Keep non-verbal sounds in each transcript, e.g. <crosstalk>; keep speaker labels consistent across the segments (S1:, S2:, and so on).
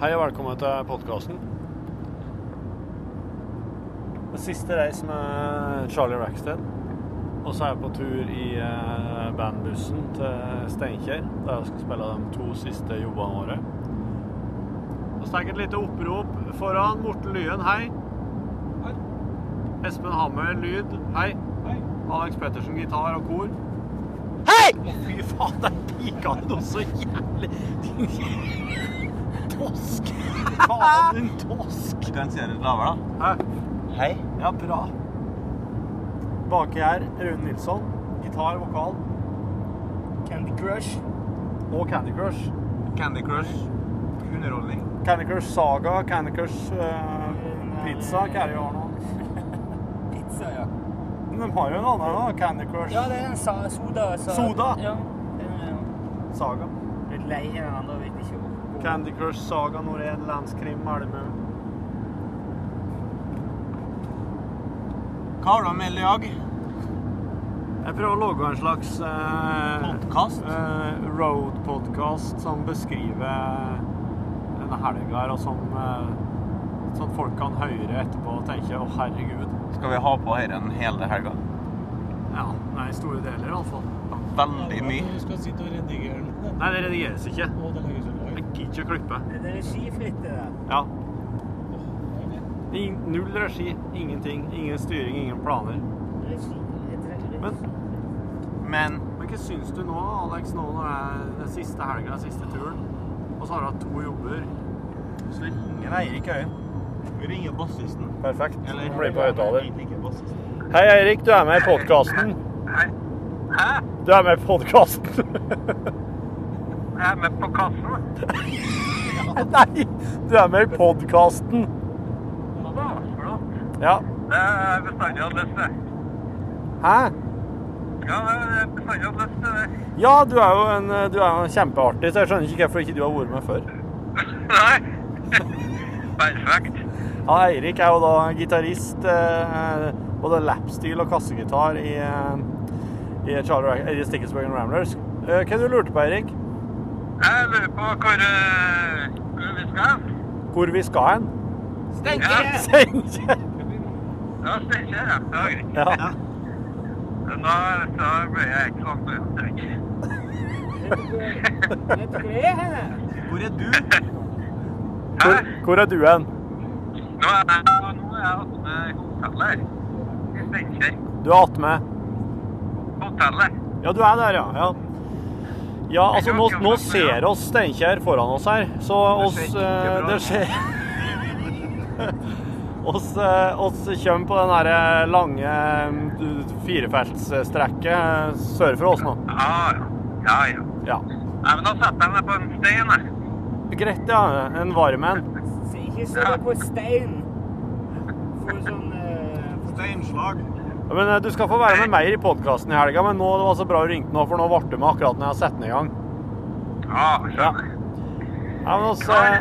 S1: Hei og velkommen til podkasten. Den siste reis med Charlie Rackstead. Og så er jeg på tur i eh, bandbussen til Steinkjer, der jeg skal spille de to siste jobbene våre. Og så er det et lite opprop foran Morten Lyen, hei. Espen Hammer, lyd, hei. Alex Pettersen, gitar og kor.
S2: Hei!
S1: Å, fy faen, der pika det noe så jævlig Tosk! Faen, din tosk!
S2: Du kan si det litt lavere,
S1: Hæ?
S2: da. Hei.
S1: Ja, bra. Baki her, Rune Nilsson. Gitar, vokal. Candy Crush. Og Candy Crush.
S2: Candy Crush. Underholdning.
S1: Candy Crush Saga, Candy Crush eh, Pizza, hva er det vi har nå?
S3: <laughs> Pizza, ja.
S1: Men de har jo en annen nå, Candy Crush
S3: Ja, det er en sa soda. Sa
S1: Soda?
S3: Ja. Den er jo
S1: Saga.
S3: litt lei den andre, vet ikke hvor.
S1: Candy Crush Saga Norén, Landskrim, Malmö.
S2: Hva har du å melde i dag?
S1: Jeg prøver å lage en slags eh,
S2: Podcast?
S1: Eh, Road-podkast som beskriver eh, denne helga her, og som eh, sånn at folk kan høre etterpå og tenke 'Å, herregud'.
S2: Skal vi ha på her en hele helga?
S1: Ja, nei, store deler iallfall.
S2: Veldig mye.
S4: Du skal sitte og redigere den.
S1: Nei, det redigeres ikke.
S4: Og det legges ut live.
S1: Jeg gidder ikke å klippe.
S3: Det er regifritt, det der.
S1: Ja.
S4: Åh, det er det.
S1: Ing- null regi, ingenting. Ingen styring, ingen planer.
S3: Regi, heter det regi-
S1: Men-
S2: Men
S1: Men hva syns du nå, Alex, nå når det er den siste helga, den siste turen, og så har du hatt to jobber?
S2: så ringer Eirik Øyen. Vi ringer bassisten.
S1: Perfekt.
S2: Eller
S1: Blir på høyttaler.
S2: Egentlig ikke bassisten.
S1: Hei, Eirik. Du er med i podkasten.
S5: Hei. Hæ?
S1: Du er med i podkasten.
S5: Jeg er med på kassen.
S1: <laughs> Nei, du er med i podkasten.
S5: Hva da? Flott.
S1: Ja.
S5: Det er bestandig annerledes, det.
S1: Hæ?
S5: Ja, det er bestandig annerledes, det der.
S1: Ja, du er jo en, eh, du er jo en kjempeartig, så jeg skjønner ikke hvorfor ikke du har vært med før.
S5: Nei. Perfekt.
S1: Ja, Eirik er jo da gitarist, eh, både lapstil og kassegitar i, eh, i Charlie Rack- eh, i Stickelsbergen Ramblers. Eh, hva du lurte på, Eirik?
S5: Jeg lurer på hvor, eh, hvor vi skal hen.
S1: Hvor vi skal hen?
S5: Ja,
S1: <laughs> Steinkjer!
S5: ja Steinkjer. Ja, det var greit.
S1: Ja.
S5: Da, da ble jeg ikke sånn langt unna.
S3: Vet du hvor det er henne?
S2: Hvor er du?
S5: Hæ?
S1: Hvor, hvor er du hen?
S5: Nå er jeg nå- nå er jeg oppe i hotellet her. I Steinkjer.
S1: Du er attmed.
S5: Hotellet.
S1: Ja, du er der, ja. Ja, ja altså, nå, nå ser oss Steinkjer foran oss her, så oss
S5: Det skjer
S1: eh,
S5: ikke bra.
S1: Det skjer <laughs> Oss, eh, oss kommer på den her lange eh, firefeltsstrekket eh, sør for oss nå.
S5: Ah, Ja, ja. Ja, ja.
S1: Ja.
S5: Nei, men da setter jeg meg på en stein, jeg.
S1: Greit, ja. En varm en.
S3: Så Ikke stå på stein. For sånn eh,
S2: Steinslag.
S1: Ja, Men eh, du skal få være med mer i podkasten i helga, men nå det var så bra du ringte nå, for nå ble du med akkurat når jeg har satt den i gang.
S5: Ja, Ah, skjønner.
S1: Ja, men oss, eh,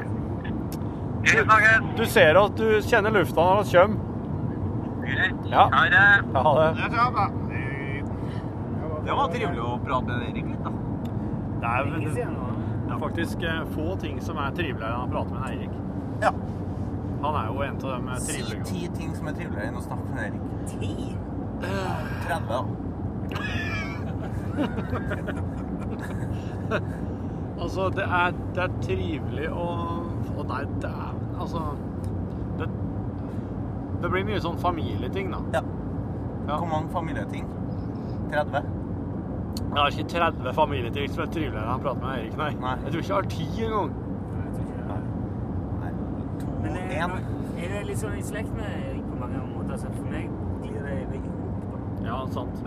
S5: Vi snakkes.
S1: du ser at du kjenner lufta når vi kommer. Ja.
S5: Ha det.
S1: Ja, det,
S2: Det var trivelig å prate med Eirik litt, da.
S1: det er
S3: Ikke se nå.
S1: Det er faktisk eh, få ting som er triveligere enn å prate med Eirik.
S2: Ja.
S1: Han er jo en av eh, de
S2: Si
S1: trivelige.
S2: ti ting som er triveligere enn å snakke med Eirik.
S3: Ti?
S2: 30, da.
S1: Altså, det er, det er trivelig å Å nei, det er Altså det, det blir mye sånn familieting, da.
S2: Ja.
S1: Ja.
S2: Hvor mange familieting? 30?
S1: Jeg har ikke 30 familieting som er triveligere enn å prate med Eirik, nei.
S2: Nei.
S1: Jeg tror ikke jeg har ti engang.
S3: Nei, jeg tror ikke det.
S2: Nei. To,
S3: Men eh,
S2: en.
S3: nå- er det litt sånn i slekt med Erik på mange måter, så for meg glir det veldig opp. da.
S1: Ja, sant.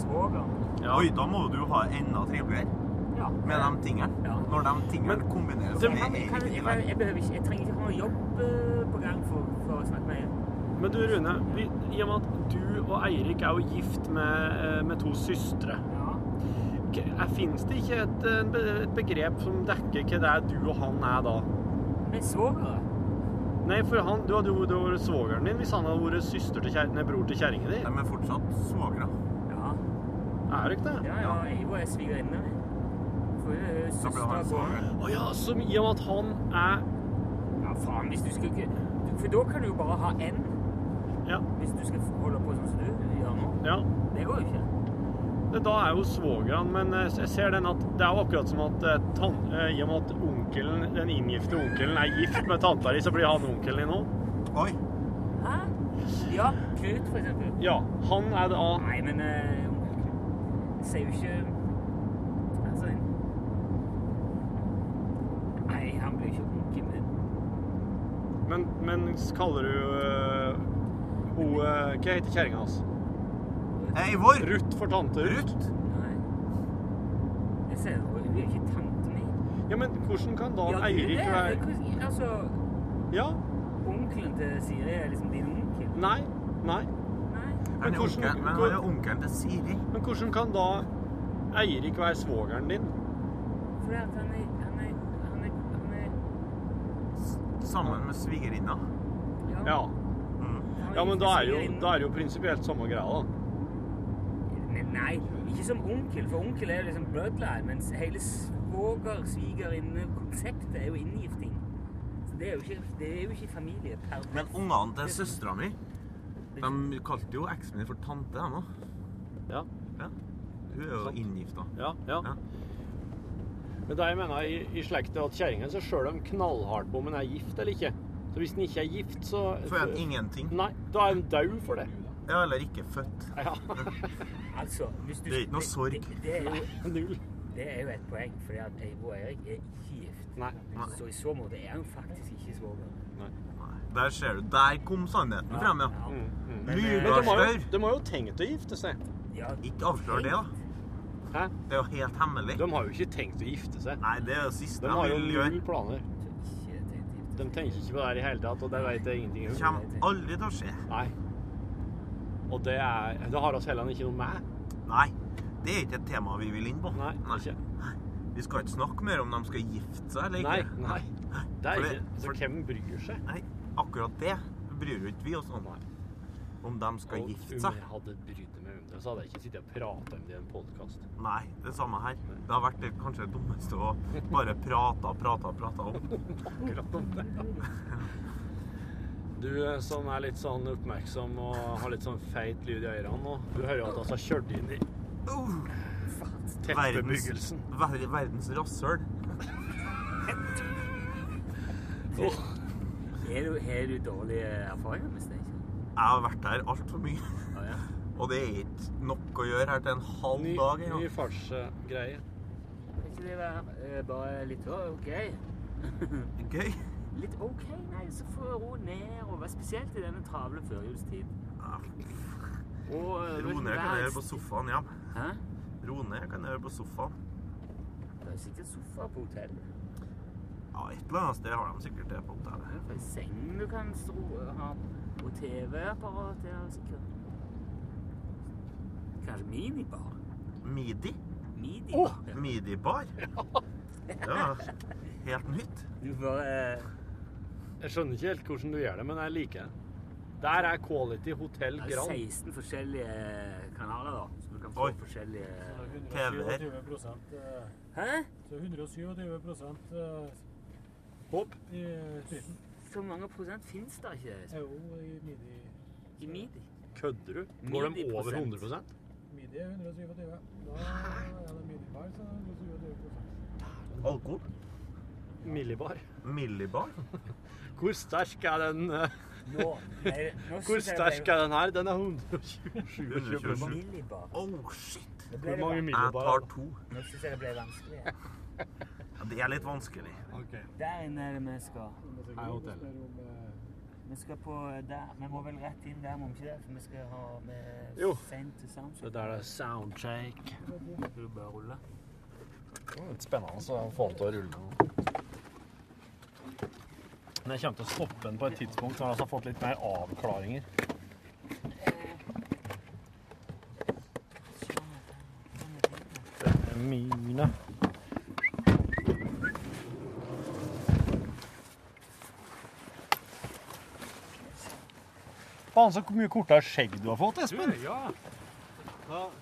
S3: Svoger.
S1: Ja.
S2: Oi, da må du ha enda triveligere
S3: Ja.
S2: med de tingene.
S3: Ja.
S2: Når de tingene kombineres
S1: Det-
S2: med
S3: Kan, kan,
S2: Eirik i
S3: jeg,
S2: lag.
S3: kan, jeg, behøver ikke, jeg trenger ikke ha noe jobb eh, på gang for, for å snakke med Erik.
S1: Men du, Rune, vi, i og med at du og Eirik er jo gift med, eh, med to søstre.
S3: Ja.
S1: Fins det ikke et, eh, be- et begrep som dekker hva det er du og han er da?
S3: Men svogere?
S1: Nei, for han, du hadde jo vært svogeren din hvis han hadde vært søster til kjer- nei, bror til kjerringa di.
S2: De er fortsatt svogre.
S1: Er du ikke det?
S3: Ja, ja, jeg var svigerinne. min. For hun er jo
S5: Da ble han
S3: søster på
S5: såret.
S1: Å ja, som i og med at han er
S3: Ja, faen, hvis du skal ikke du- For da kan du jo bare ha én,
S1: Ja.
S3: hvis du skal holde på sånn som du gjør nå.
S1: ja.
S3: Det går jo ikke.
S1: Det, da er jo svogeren, men eh, jeg ser den at det er jo akkurat som at eh, tan, eh, i og med at onkelen, den inngifte onkelen er gift med tanta di, så blir han onkelen din nå.
S2: Oi.
S3: Hæ? Ja, Knut, for eksempel.
S1: Ja, han er da
S3: Nei, men eh, jeg sier jo ikke Altså Nei, han blir jo ikke onkel min.
S1: Men, men kaller du eh, ho, eh, Hva heter kjerringa hans?
S2: Eivor!
S1: Ruth for tante Ruth?
S2: Ruth?
S3: Nei. Jeg sier jo hun er ikke tante mi.
S1: Ja, men hvordan kan da
S3: Ja, hun
S1: Eirik
S3: er-
S1: være
S3: hvordan- Altså,
S1: Ja?
S3: onkelen til Siri er liksom din onkel?
S1: Nei? Nei?
S3: Nei.
S2: Han
S1: Men
S2: er
S1: hvordan-
S2: onkelen- Men han er onkelen til Siri.
S1: Men hvordan kan da Eirik være svogeren din?
S3: Fordi at han er Han er, han er, han er
S2: Sammen med svigerinna.
S1: Ja.
S2: Mm.
S3: han
S1: ja men da er, jo,
S3: svigerinnen.
S1: da er det jo prinsipielt samme greia, da.
S3: Men nei, ikke som onkel, for onkel er jo liksom bloodline, mens hele svoger-svigerinne-konseptet er jo inngifting. Så det er jo ikke, det er jo ikke familie per
S2: Men ungene
S3: sånn-
S2: til søstera mi De kalte jo eksen min for tante, dem òg.
S1: Ja,
S2: Ja. Hun er jo
S1: Sant.
S2: inngifta.
S1: ja, ja.
S2: Ja.
S1: Men det jeg mener i, i slekt er at kjerringen ser sjøl om knallhardt på om en er gift eller ikke. Så hvis en ikke er gift, så
S2: Får jeg ingenting?
S1: Nei, da er en dau for det.
S2: Ja, eller ikke født.
S1: Ja, <laughs>
S3: Altså, hvis du...
S2: Det er ikke noe sorg.
S3: Det, det, er, jo,
S1: null.
S3: det er jo et poeng, fordi at Eivo og Erik er ikke gift.
S1: Nei.
S3: Så i så måte er han faktisk ikke svoger.
S2: Nei. Der ser du. Der kom sannheten frem, ja.
S1: Mm, mm.
S3: Men, eh,
S1: Men de har, jo,
S2: Lygarstør!
S1: de har jo tenkt å gifte seg.
S3: Ja,
S2: Ikke avslør det, da.
S1: Hæ?
S2: Det er jo helt hemmelig.
S1: De har jo ikke tenkt å gifte seg.
S2: Nei, det er jo det
S1: De
S2: siste
S1: har
S2: jeg
S1: jo
S2: vil
S1: null
S2: gjøre.
S1: planer.
S3: så ikke tenkt gift.
S1: De tenker ikke på det her i hele tatt, og det vet jeg ingenting
S2: Det
S1: om.
S2: kommer aldri til å skje.
S1: Nei. Og det, er, det har oss heller ikke noe med.
S2: Nei. Det er ikke et tema vi vil inn på.
S1: Nei, ikke.
S2: Vi skal ikke snakke mer om de skal gifte seg eller
S1: Nei,
S2: ikke.
S1: nei. Det er
S2: For det-
S1: ikke, så
S2: for-
S1: hvem bryr seg?
S2: Nei, akkurat det bryr jo ikke vi oss om. Om de skal
S1: Og
S2: gifte
S1: om
S2: seg.
S1: jeg hadde brydd meg om det, så hadde jeg ikke sittet og pratet om det i en podkast.
S2: Nei, det samme her. Det har vært det kanskje det dummeste å bare prate og prate og prate om.
S1: Du eh, som er litt sånn oppmerksom og har litt sånn feit lyd i ørene nå, du hører jo at vi har kjørt inn i
S2: Uh, verdens,
S1: tettbebyggelsen.
S2: ver, verdens rasshøl.
S1: Åh,
S3: Har du, har du eh, dårlige erfaringer med Steinkjer?
S2: Jeg har vært her altfor mye,
S3: Ja, ja.
S2: og det er ikke nok å gjøre her til en halv
S1: ny
S2: dag
S1: ny
S2: engang.
S1: fartsgreie.
S3: Kan ikke det være eh, bare litt å- ok?
S2: Gøy.
S3: <laughs> Litt ok, nei, så få ro ned og være spesielt i denne travle førjulstid.
S2: Ja,
S3: Og eh,
S2: Ro ned kan jeg gjøre på sofaen, ja.
S3: Hæ?
S2: Ro ned kan jeg gjøre på sofaen.
S3: Det er jo sikkert sofa på hotellet.
S2: Ja, et eller annet sted har de sikkert det på
S3: Det er
S2: hotellet.
S3: jo en seng du kan stro, eh, ha, og TV-apparat der sikkert. Kanskje minibar?
S2: Midi.
S3: Minibar?
S2: Midi-bar. Det var helt nytt.
S3: Du bare eh,
S1: Jeg skjønner ikke helt hvordan du gjør det, men jeg liker det. Der er quality hotell
S3: Det er
S1: Grand.
S3: 16 forskjellige kanaler, da. Så du kan få
S2: Oi.
S3: forskjellige
S2: TV her.
S4: 127% eh,
S3: Hæ?
S4: Så 127% eh,
S1: Hopp.
S4: i dritten
S3: Så mange prosent fins det ikke
S4: er jo i midi.
S3: i midi?
S1: Kødder du? Går de over
S3: 90%?
S1: 100
S4: Midi er 127. Da er det midibar, så er det 127%.
S2: Alkohol.
S1: Millibar.
S2: Millibar.
S1: Hvor sterk er den eh,
S3: Nå, nei, nå
S1: Hvor
S3: synes jeg det
S1: sterk er den her? Den er 127
S3: ble-
S1: millibar.
S2: 127.
S3: Millibar.
S2: Oh, shit.
S3: Det ble
S1: Hvor mange
S3: det
S2: Jeg
S1: millibar? er
S2: tar
S1: det?
S2: to.
S3: van- Nå synes jeg det ble vanskelig.
S2: Ja, Det er litt vanskelig.
S1: Ok.
S3: Der inne er det vi skal.
S1: Her er hotellet.
S4: Mer om, eh,
S3: Vi skal på der. Vi må vel rett inn der, må vi ikke det? For vi skal ha med
S1: Jo.
S3: sent til soundcheck.
S1: Det der er soundcheck.
S3: Skal du bare rulle?
S1: Litt spennende å få den til å rulle nå. Men jeg kommer til å stoppe den på et tidspunkt når vi har altså fått litt mer avklaringer. Det er mine. Faen, så mye kortere skjegg du har fått, Espen.
S5: Ja.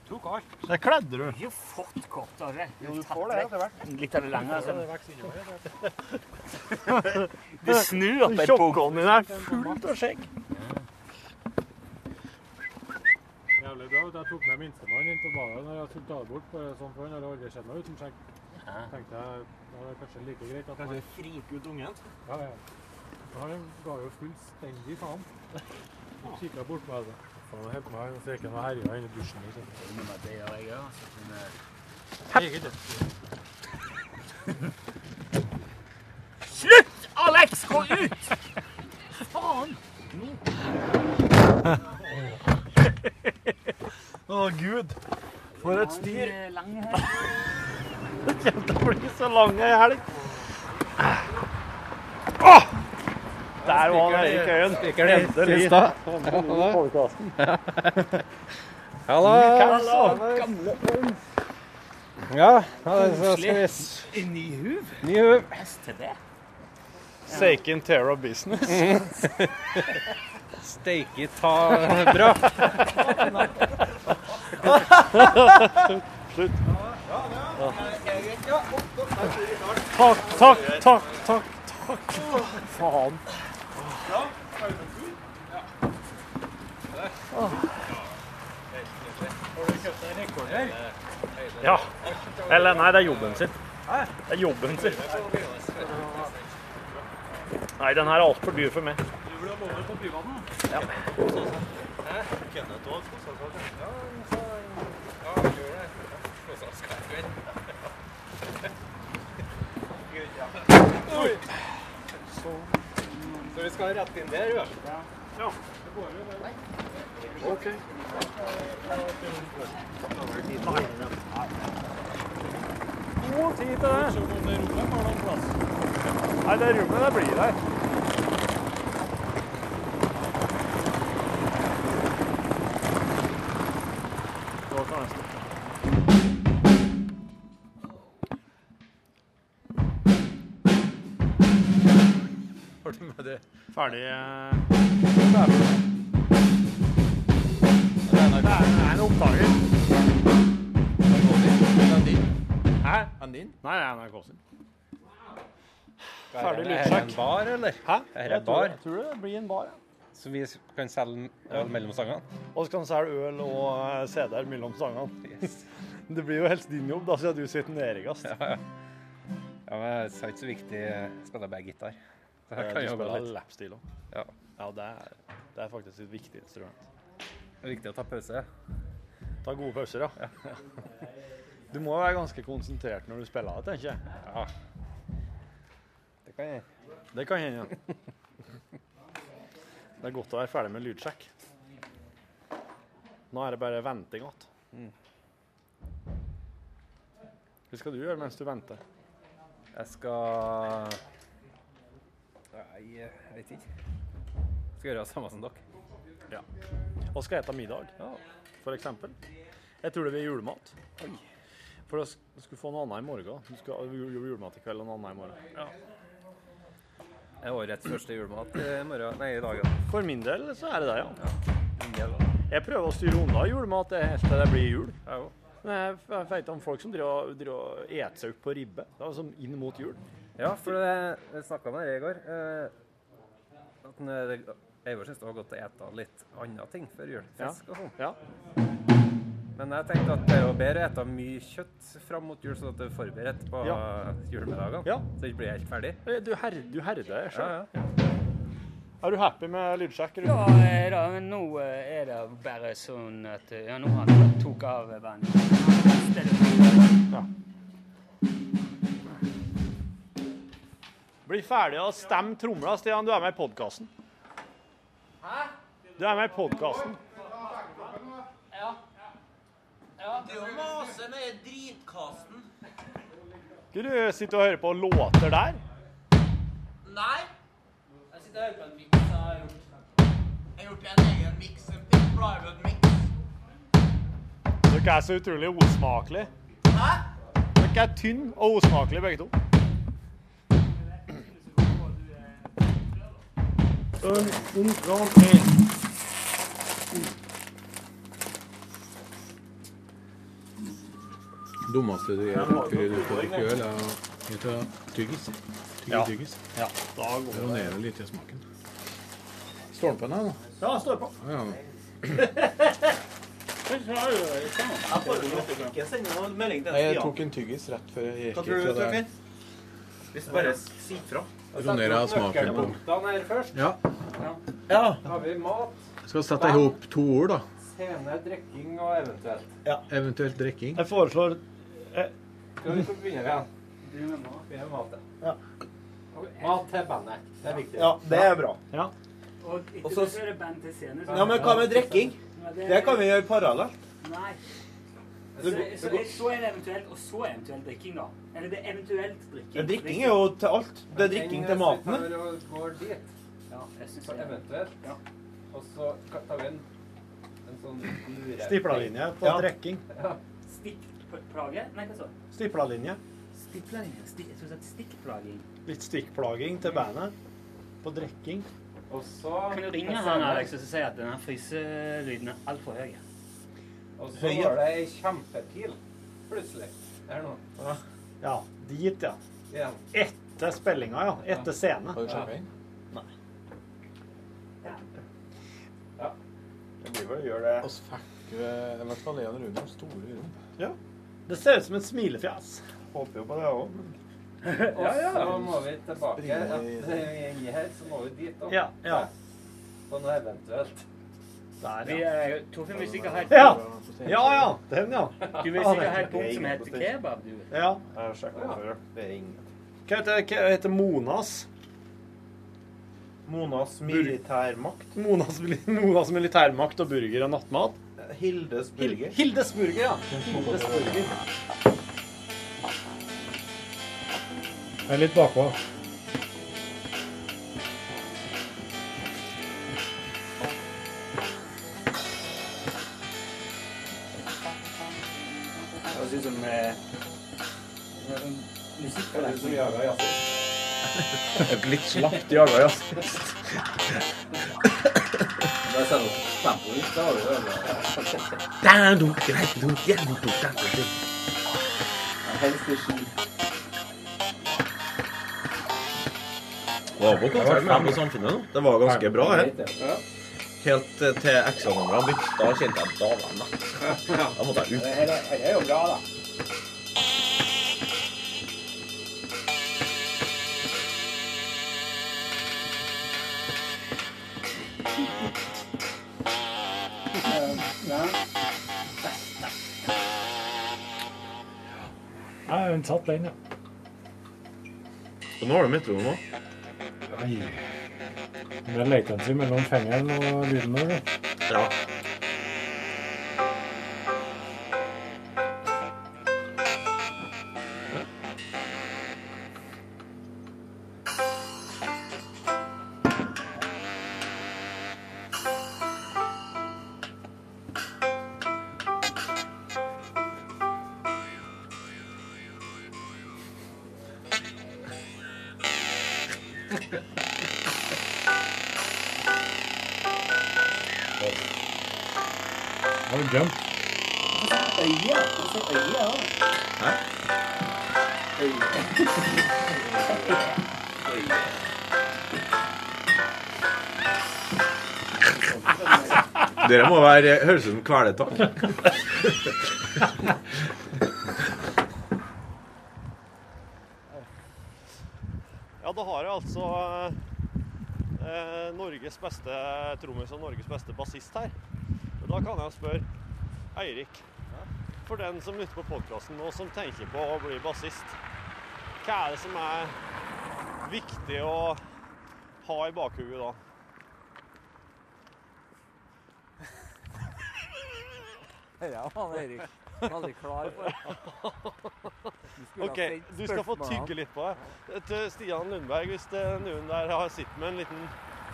S3: Tok alt.
S1: Det kledde du.
S3: Du har jo fått kortere.
S1: Jo, du får det etter hvert.
S3: Litt av det lange.
S4: Det
S3: Altså.
S4: er vekst inni meg, det er
S3: <laughs> Du snur opp et bok.
S1: Tjokkhånden din er fullt av skjegg.
S4: Jævlig bra. vet du. Jeg tok med minstemann inn på badet når jeg skulle ta det bort. Bare sånn for han har aldri sett meg uten skjegg. Tenkte jeg da er det kanskje like greit at han
S2: Frike ut ungen.
S4: Ja, ja. Men Han ga jo fullstendig faen. Kikka bort på meg. altså. Faen, jeg henter meg her, så gikk han og herja inn i dusjen. Liksom.
S3: Det gjør jeg også. Men, eh, Slutt, Alex! Gå ut! Faen!
S1: Å, gud. For et styr.
S3: Eh, Lang her.
S1: Kommer til å bli så lang ei helg. Åh! Der var han Erik Øyen. Endelig. Podcasten. Halla!
S6: Ja, ja, så skal vi s-
S3: Inni huv.
S6: Ny huv.
S3: STD.
S1: Taking care of business.
S6: Steike ta bra.
S1: Takk, takk, takk, takk. takk. Faen. Ja. Eller nei, det er jobben sin. Det er jobben sin. Nei, den her er altfor dyr for meg.
S6: Så vi skal rett inn der, jo.
S1: God tid til det. Nei, det rommet det blir der. Da kan jeg stoppe.
S6: Har du med det?
S1: Ferdig. eh,
S6: Det er nok
S1: Det er, det er en oppdager.
S6: den din.
S1: Hæ?
S6: Den din?
S1: Nei, det er NRK sin.
S6: Ferdig
S1: lydsjekk.
S6: Er det en bar, eller?
S1: Hæ?
S6: Her er
S1: Jeg tror-
S6: bar.
S1: Jeg tror det blir en bar, ja.
S6: Så vi s- kan selge øl mellom sangene?
S1: Og så kan du selge øl og eh, CD-er mellom sangene.
S6: Yes.
S1: Det blir jo helst din jobb, da, siden du sitter nede i gass.
S6: Ja, men det er ikke så viktig. Jeg Spiller bare gitar. Så jeg kan
S1: Eh, Du
S6: jo bare
S1: spiller
S6: litt.
S1: lapstil òg.
S6: Ja.
S1: Ja, det er, det er faktisk et viktig instrument.
S6: Det er viktig å ta pause.
S1: Ta gode pauser, ja. <laughs> Du må være ganske konsentrert når du spiller det, tenker jeg.
S6: Ja. Det kan jeg.
S1: Det kan hende. ja. Det er godt å være ferdig med lydsjekk. Nå er det bare venting igjen. Hva skal du gjøre mens du venter?
S6: Jeg skal Nei, jeg vet ikke. Skal gjøre det samme som dere.
S1: Hva skal jeg spise middag,
S6: Ja.
S1: for eksempel? Jeg tror det blir julemat. For du sk- skulle få noe annet i morgen. Du skal ha jul- julemat i kveld og noe annet i morgen.
S6: Det er årets første julemat i morgen. Nei, i dag. da.
S1: For min del så er det det, ja.
S6: En del, da.
S1: Jeg prøver å styre unna julemat helt til det blir jul.
S6: Jeg òg.
S1: Men jeg f- jeg vet om folk som driver og- driver og eter seg opp på ribbe. Det er sånn inn mot jul.
S6: Ja, for det- jeg snakka med deg i går. eh, At den, eh, Eivor syns det var godt å ete litt andre ting før jul. Fisk og sånn.
S1: Ja.
S6: Men jeg tenkte at det er jo bedre å ete mye kjøtt fram mot jul, sånn at du er forberedt på
S1: Ja.
S6: julemiddagene.
S1: Ja.
S6: Så det ikke blir helt ferdig.
S1: Eh, Du, her, du herder deg sjøl.
S6: Ja, ja.
S1: Er du happy med lydsjekk? Rune?
S3: Da er det, men nå eh, er det bare sånn at eh, Ja, nå har han tok av vannet.
S1: Bli ferdig og stem tromla, Stian. Du er med i podkasten. Du er med i podkasten.
S2: Mase med dritkasten.
S1: Skal du sitte og høre på låter der?
S7: Nei. Jeg sitter og hører på en miks jeg har gjort. Jeg har gjort en egen miks, en Pink Floyd-miks.
S1: Dere er så utrolig osmakelige.
S7: Hæ?
S1: Dere er tynne og osmakelige begge to.
S8: dummeste du gjør før du får et øl, er å gi til tyggis. Tygge tyggis.
S1: Ja, da går det.
S8: Ronerer litt i smaken. Stolpen her, da.
S1: Ja, står på. <laughs>
S8: Ja,
S7: Jeg foreslår ikke sende noen melding til
S8: Nei, jeg
S7: Stian.
S8: tok en tyggis rett før jeg gikk
S7: Hva tror du,
S8: hit. så det
S7: Torfinn? Hvis du bare sier fra.
S8: er- Ronerer jeg smaken på.
S6: Nøklene her først.
S8: Ja.
S1: Ja.
S6: Har vi mat,
S8: Jeg skal sette i hop to ord, da.
S6: scene, drikking og eventuelt.
S8: Eventuelt drikking.
S1: Jeg foreslår
S6: Skal vi begynne igjen? Begynn med mat. Begynn med mat, ja. Ok, Mat til bandet. Det er viktig.
S9: Ja, det er bra.
S3: Og ikke
S9: Og så-
S3: føre band til scenen. så-
S9: Ja, Men hva med drikking?
S3: Ja,
S9: Det kan vi gjøre parallelt.
S3: Nei. Så,
S9: Det går- det
S3: så,
S9: går-
S3: så er det eventuelt, og så eventuelt drikking, da. Eller det er eventuelt drikking.
S9: Ja, drikking er jo til alt. Det er drikking til maten.
S6: Vi går dit,
S3: Ja, jeg synes
S6: så
S3: det. er-
S6: eventuelt.
S3: Ja.
S6: Og så tar vi en, en sånn lure...
S1: stipla linje på
S9: Ja.
S1: drikking.
S3: Stikkplage? Nei, hva så?
S1: Stipla linje.
S3: Stikkplaging? Stik, jeg tror det er stikkplaging.
S1: Litt stikkplaging til bandet. På drikking.
S6: Og så
S3: Kan du ringe han Alex og si at denne fryselyden er altfor høy?
S6: Og så var det ei kjempepil plutselig. Der nå.
S1: Ja, dit, ja.
S6: Igjen.
S1: Etter spillinga, ja. Etter scene.
S8: Har du champagne?
S9: Det blir vel å gjøre det.
S8: Vi fikk eh, i hvert fall en runde om store rom.
S1: Det ser ut som et smilefjes.
S9: Håper jo på det òg.
S6: Og så må vi tilbake etter den gjengen her, så må vi dit òg.
S1: Ja, ja.
S6: På noe eventuelt.
S1: Der,
S3: Vi
S1: ja.
S3: er Torfinn vil sikkert ha et
S1: Ja! Ja, ja. Den, ja.
S3: Du vil sikkert ha et punkt som heter kebab, du.
S1: ja.
S9: Jeg har sjekket det før. Det er ingenting.
S1: Hva heter, hva heter Monas?
S9: Monas militærmakt.
S1: Monas, <laughs> Monas militærmakt og burger og nattmat?
S9: Hildes
S1: Hil-
S9: burger.
S1: Hildes burger, ja. Hildes burger.
S4: Jeg er litt bakpå.
S3: Det høres ut som eh, musikk på det.
S8: Litt slapt jaga, ja.
S6: Da setter du tempoet litt, så har du det. Helst i sky.
S2: Var på konsert med dem i Samfunnet nå. Det var ganske bra, det.
S6: Ja.
S2: Helt eh, til ekstrananummeret bytte. Da kjente jeg da var jeg mett. Da måtte jeg ut.
S6: Det er jo bra, da.
S4: Nei, hun satt den, ja.
S2: Og nå har du metronom òg.
S4: Ai. Det er latency mellom fingeren og lyden vår. da.
S2: Ja.
S4: Har du jump?
S2: Dere må være eh, Høres ut som kvelertak.
S1: Ja, da har jeg altså eh, Norges beste trommis og Norges beste bassist her. Og da kan jeg spørre Eirik, for den som lytter på podkasten og som tenker på å bli bassist, hva er det som er viktig å ha i bakhodet da?
S10: Ja, han Eirik. Ah, Veldig klar på det. Du skulle
S1: OK,
S10: ha sendt
S1: du skal få
S10: spørsmålene.
S1: tygge litt på det. Til Stian Lundberg, hvis det er noen der har sittet med en liten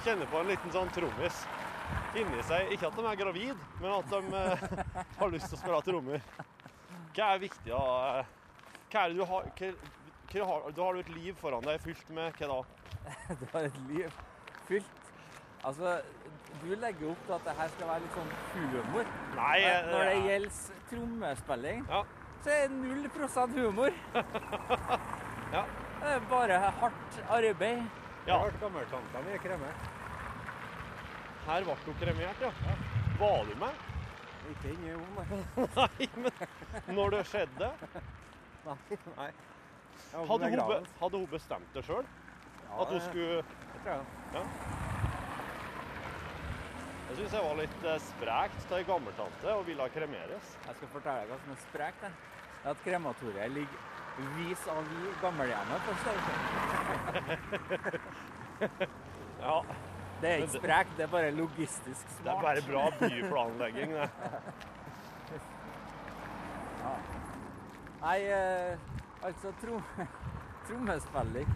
S1: Kjenner på en liten sånn trommis inni seg. Ikke at de er gravid, men at de eh, <laughs> har lyst til å spille trommer. Hva er viktig å eh, Hva er det du har hva, hva har, Da har du et liv foran deg fylt med hva da?
S10: Du har et liv fylt. Altså, du legger opp til at det her skal være litt sånn humor.
S1: Nei,
S10: Når det
S1: eh,
S10: gjelder trommespilling,
S1: Ja.
S10: Det er null prosent
S1: <laughs>
S10: humor. Det er bare hardt arbeid.
S1: Ja.
S10: Hardt gammeltanta mi er kremert.
S1: Her ble du kremert, ja. Var du med?
S10: Ikke inni
S1: Nei, men når det skjedde
S10: Nei, nei. Jeg var på
S1: Hadde hun, be,
S10: begravelsen.
S1: hadde hun bestemt det sjøl?
S10: Ja,
S1: At hun
S10: det-
S1: skulle
S10: tror jeg.
S1: Ja. Jeg syns jeg var litt eh, sprekt av ei gammeltante og ville kremeres.
S10: Jeg skal fortelle deg hva som er sprekt. jeg. Det er At krematoriet ligger vis à vis gammelhjemmet på Staukjær.
S1: Ja.
S10: Det
S1: Men
S10: er ikke sprekt, det er bare logistisk
S1: Det er
S10: smart.
S1: bare bra byplanlegging, det.
S10: Ja. Nei, eh, altså trom <laughs> trommespilling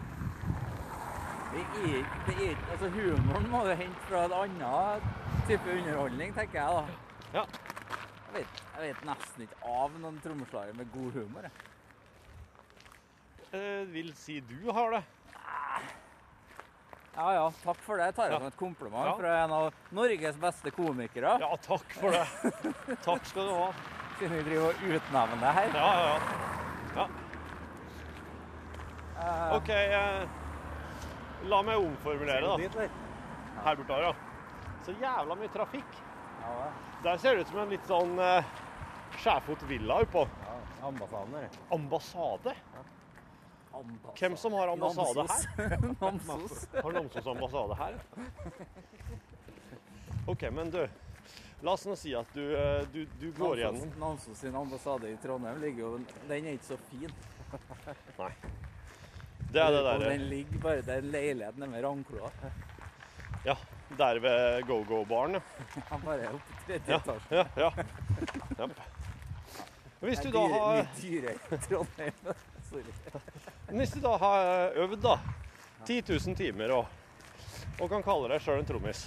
S10: det er, ikke- det er ikke Altså, humoren må du hente fra en annen type underholdning, tenker jeg, da.
S1: Ja.
S10: Jeg vet, jeg vet nesten ikke av noen trommeslagere med god humor. Jeg.
S1: Eh, vil si du har det.
S10: Ja ja, takk for det. Jeg tar det som et kompliment
S1: Ja.
S10: fra en av Norges beste komikere.
S1: Ja, takk for det. Takk skal du ha.
S10: Siden vi driver og utnevner det her.
S1: Ja, ja, ja. ja. OK, eh, la meg omformulere, da. Her borte, ja. Så jævla mye trafikk. Der ser det ut som en litt sånn eh, Skjærfot villa oppå.
S6: Ambassaden her.
S1: Ambassade? Hvem som har ambassade her?
S10: <laughs> Namsos.
S1: Har Namsos ambassade her? OK, men du. La oss nå si at du, eh, du, du går
S10: Namsos-
S1: igjennom
S10: Namsos sin ambassade i Trondheim ligger jo Den er ikke så fin.
S1: Nei. Det er det
S10: Og
S1: derre
S10: Den ligger bare der leiligheten er med rangkloa.
S1: Ja, der ved go-go-baren.
S10: Han bare er oppe i tredje
S1: Ja,
S10: etasje.
S1: ja, ja. Japp. Hvis du da har
S10: Mye dyrere i Trondheim. <laughs> Sorry.
S1: Hvis du da har øvd da, 10 000 timer og, og kan kalle deg sjøl en trommis,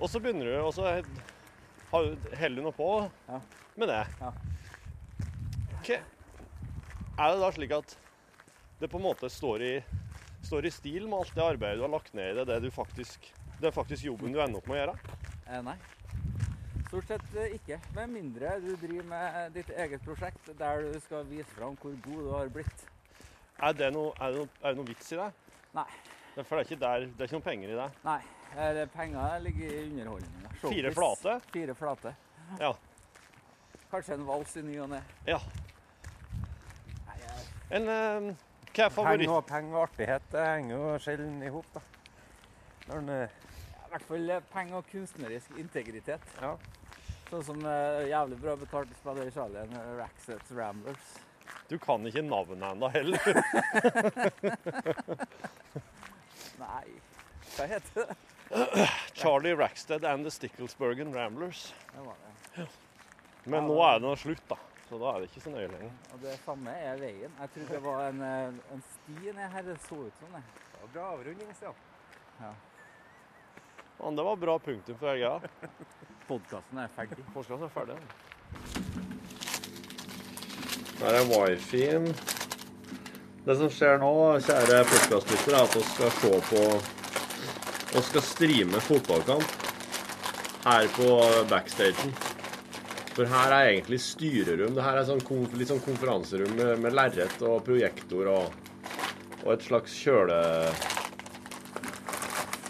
S1: og så begynner du, og så har- heller du noe på med det Ok. Er det da slik at det på en måte står i, står i stil med alt det arbeidet du har lagt ned i det, det du faktisk det er faktisk jobben du ender opp med å gjøre?
S10: Eh, nei. Stort sett eh, ikke. Med mindre du driver med eh, ditt eget prosjekt der du skal vise fram hvor god du har blitt.
S1: Er det noe, er det noe, er det noe vits i det?
S10: Nei.
S1: Det er- For det er ikke, der, det er ikke noen penger i det?
S10: Nei. eh, det- Penger ligger i underholdninga.
S1: Fire flate?
S10: Fire flate.
S1: Ja.
S10: Kanskje en vals i ny og ne.
S1: ja. En, eh, hva er favoritt...
S6: Penger og penger og artighet det henger jo sjelden i hop, da. Når en, eh,
S10: I hvert fall eh, penger og kunstnerisk integritet. Sånn som eh, jævlig bra betalt spiller i Charlien Raxets Ramblers.
S1: Du kan ikke navnet ennå heller.
S10: Nei, hva heter det?
S1: Charlie Rackstead and the Sticklesbergen Ramblers.
S10: Det var det.
S1: Men nå er det nå slutt, da. Så da er det ikke så nøye lenger.
S10: Og det samme er veien. Jeg trodde det var en, eh, en sti ned her. Det så ut som det. Det var bra avrunding, Stian. Ja.
S1: Men det var bra punktum for helga.
S10: Podkasten er ferdig.
S1: Podkasten er ferdig.
S9: Her er wifi-en. Det som skjer nå, kjære podkastlyttere, er at vi skal se på Vi skal streame fotballkamp her på backstagen. For her er egentlig styrerom. Det her er sånn konf litt sånn konferanserom med, med lerret og projektor og, og et slags kjøle...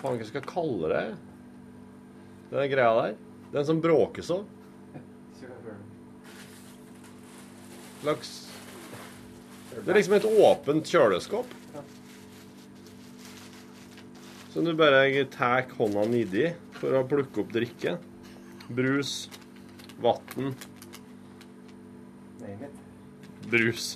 S9: Faen, hva skal jeg kalle det? Den greia der. Den som bråker sånn. Slags Det er liksom et åpent kjøleskap. Som du bare tar hånda nedi for å plukke opp drikke. Brus, vann,
S6: Name it.
S9: brus.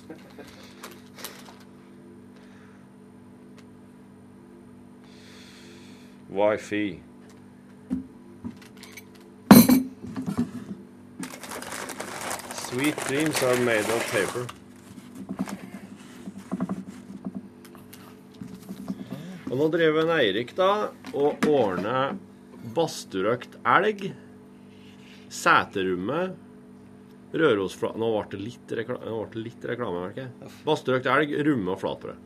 S9: Wifi. Sweet dreams are made of paper. Og nå driver en Eirik da og ordner badstuerøkt elg. Seterrommet. Rørosfla... Nå ble det litt, rekla... nå ble det litt reklame, merker jeg. Badstuerøkt elg, rumme og flatbrød.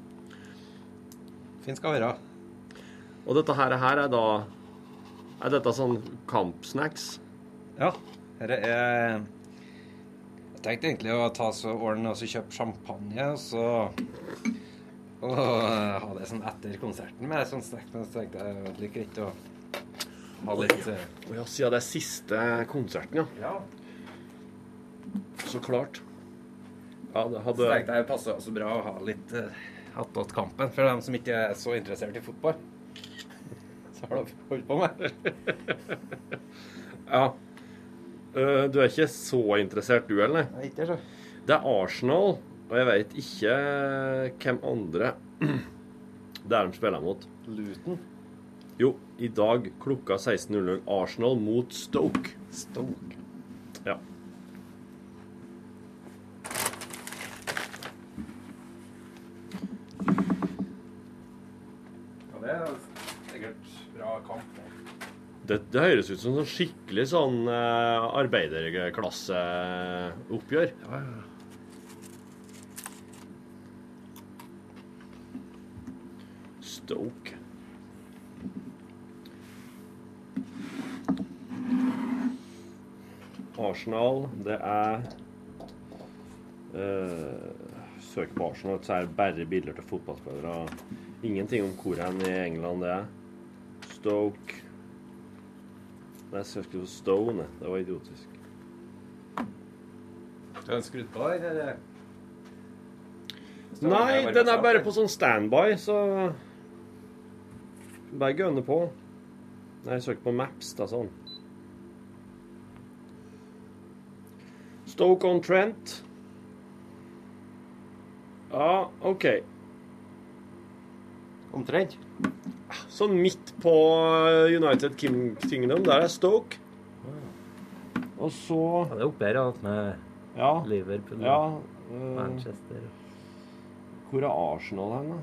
S9: Fint skal være. Og dette her, her er da Er dette sånn kampsnacks?
S6: Ja. Dette er tenkte egentlig å ta så ordne og så kjøpe champagne, og så og ha det sånn etter konserten med sånn snacks, men så tenkte jeg det var like greit å ha litt eh,
S1: Å ja, siden det er siste konserten, ja. Så klart. Ja, det
S6: Så
S1: hadde
S6: tenkte jeg det passet også bra å ha litt eh, attåt kampen, for dem som ikke er så interessert i fotball. <laughs> Så har de holdt på med.
S1: Ja. Eh, Du er ikke så interessert, du, eller?
S6: Ikke så.
S1: Det er Arsenal, og jeg veit ikke hvem andre <clears throat> det er de spiller mot.
S6: Luton?
S1: Jo, i dag klokka 16.00 Arsenal mot Stoke.
S6: Stoke?
S1: Ja.
S6: Ja, det er sikkert bra kamp.
S1: Det, det høres ut som sånn skikkelig sånn eh, arbeiderklasseoppgjør.
S6: Ja, ja.
S1: Stoke. Arsenal, det er uh, Søker på Arsenal, så er det bare bilder til fotballspillere. Ingenting om hvor hen i England det er. Stoke Nei, jeg søkte på Stone. Det var idiotisk.
S6: Er den skrudd på, eller?
S1: Nei, den er bare på sånn standby, så Bare gønne på. Nei, jeg søker på Maps, da, sånn. Stoke on Trent. Ja, OK.
S6: Omtrent?
S1: Sånn midt på eh, United Kim Kingdom, der er Stoke. Og så
S11: Ja, det er oppe her, ja. Med
S1: Ja.
S11: Liverpool og
S1: Ja, øh.
S11: Manchester.
S1: Hvor er Arsenal hen, da?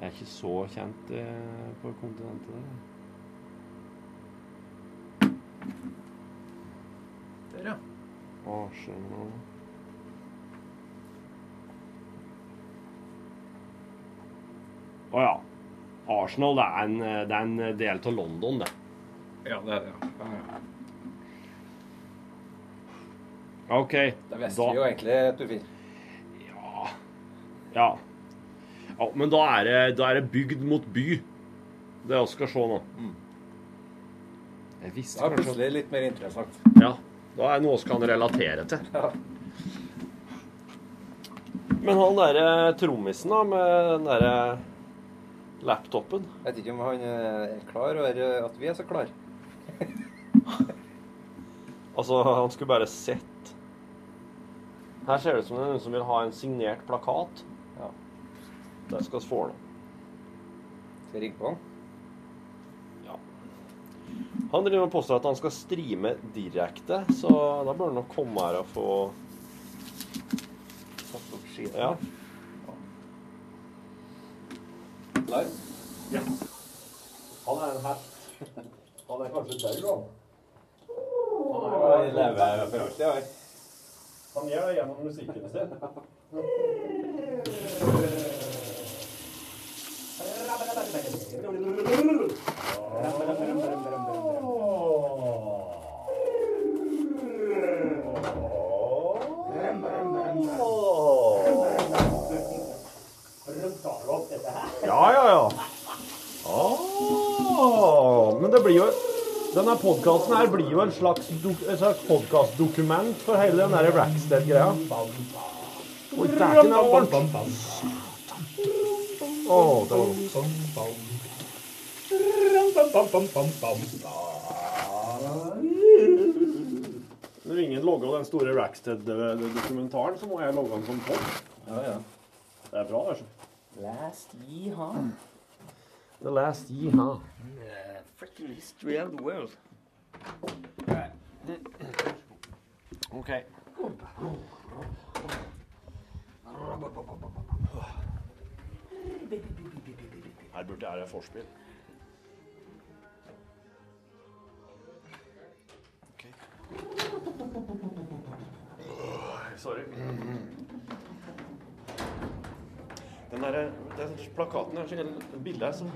S1: Jeg er ikke så kjent eh, på kontinentet der.
S6: Der, ja.
S1: Arsenal Å ja. Arsenal det er en, eh, det er en del av London, det.
S6: Ja, det er det, ja. ja. ja.
S1: OK.
S6: Det visste vi jo egentlig at du fikk.
S1: Ja. ja men da er, det, da er det bygd mot by. Det vi skal se nå. Jeg visste
S6: Det er plutselig litt mer interessant.
S1: Ja. Da er det noe vi kan relatere til.
S6: Ja.
S1: Men han derre trommisen, da, med den derre laptopen
S6: Jeg vet ikke om han eh, er klar over eh, at vi er så klar.
S1: Altså, han skulle bare sett. Her ser det ut som det er noen som vil ha en signert plakat.
S6: Ja.
S1: Der skal vi få den.
S6: Skal jeg ringe på han?
S1: Ja. Han driver og påstår at han skal streame direkte, så da bør han nok komme her og få
S6: Satt opp skien.
S1: Ja.
S6: Klar?
S1: Ja. Han er en hest. Han er kanskje død, han.
S6: Han lever for alltid, han.
S1: Han gjør det gjennom musikken sin. Ja, ja, ja. Ah, men det blir jo Denne podkasten her blir jo en slags, dok- en slags podkastdokument for hele den der Rackstead-greia. Oi, dæken, det var varmt. Å, det var Når ingen logger den store Rackstead-dokumentaren, så må jeg logge den som pod. Det er bra, altså.
S3: Last yeehaw.
S1: The last yeehaw.
S3: The freaking history of the world.
S1: OK. Her burde jeg ha forspill. Sorry. Den der, den plakaten er så hele bildet er som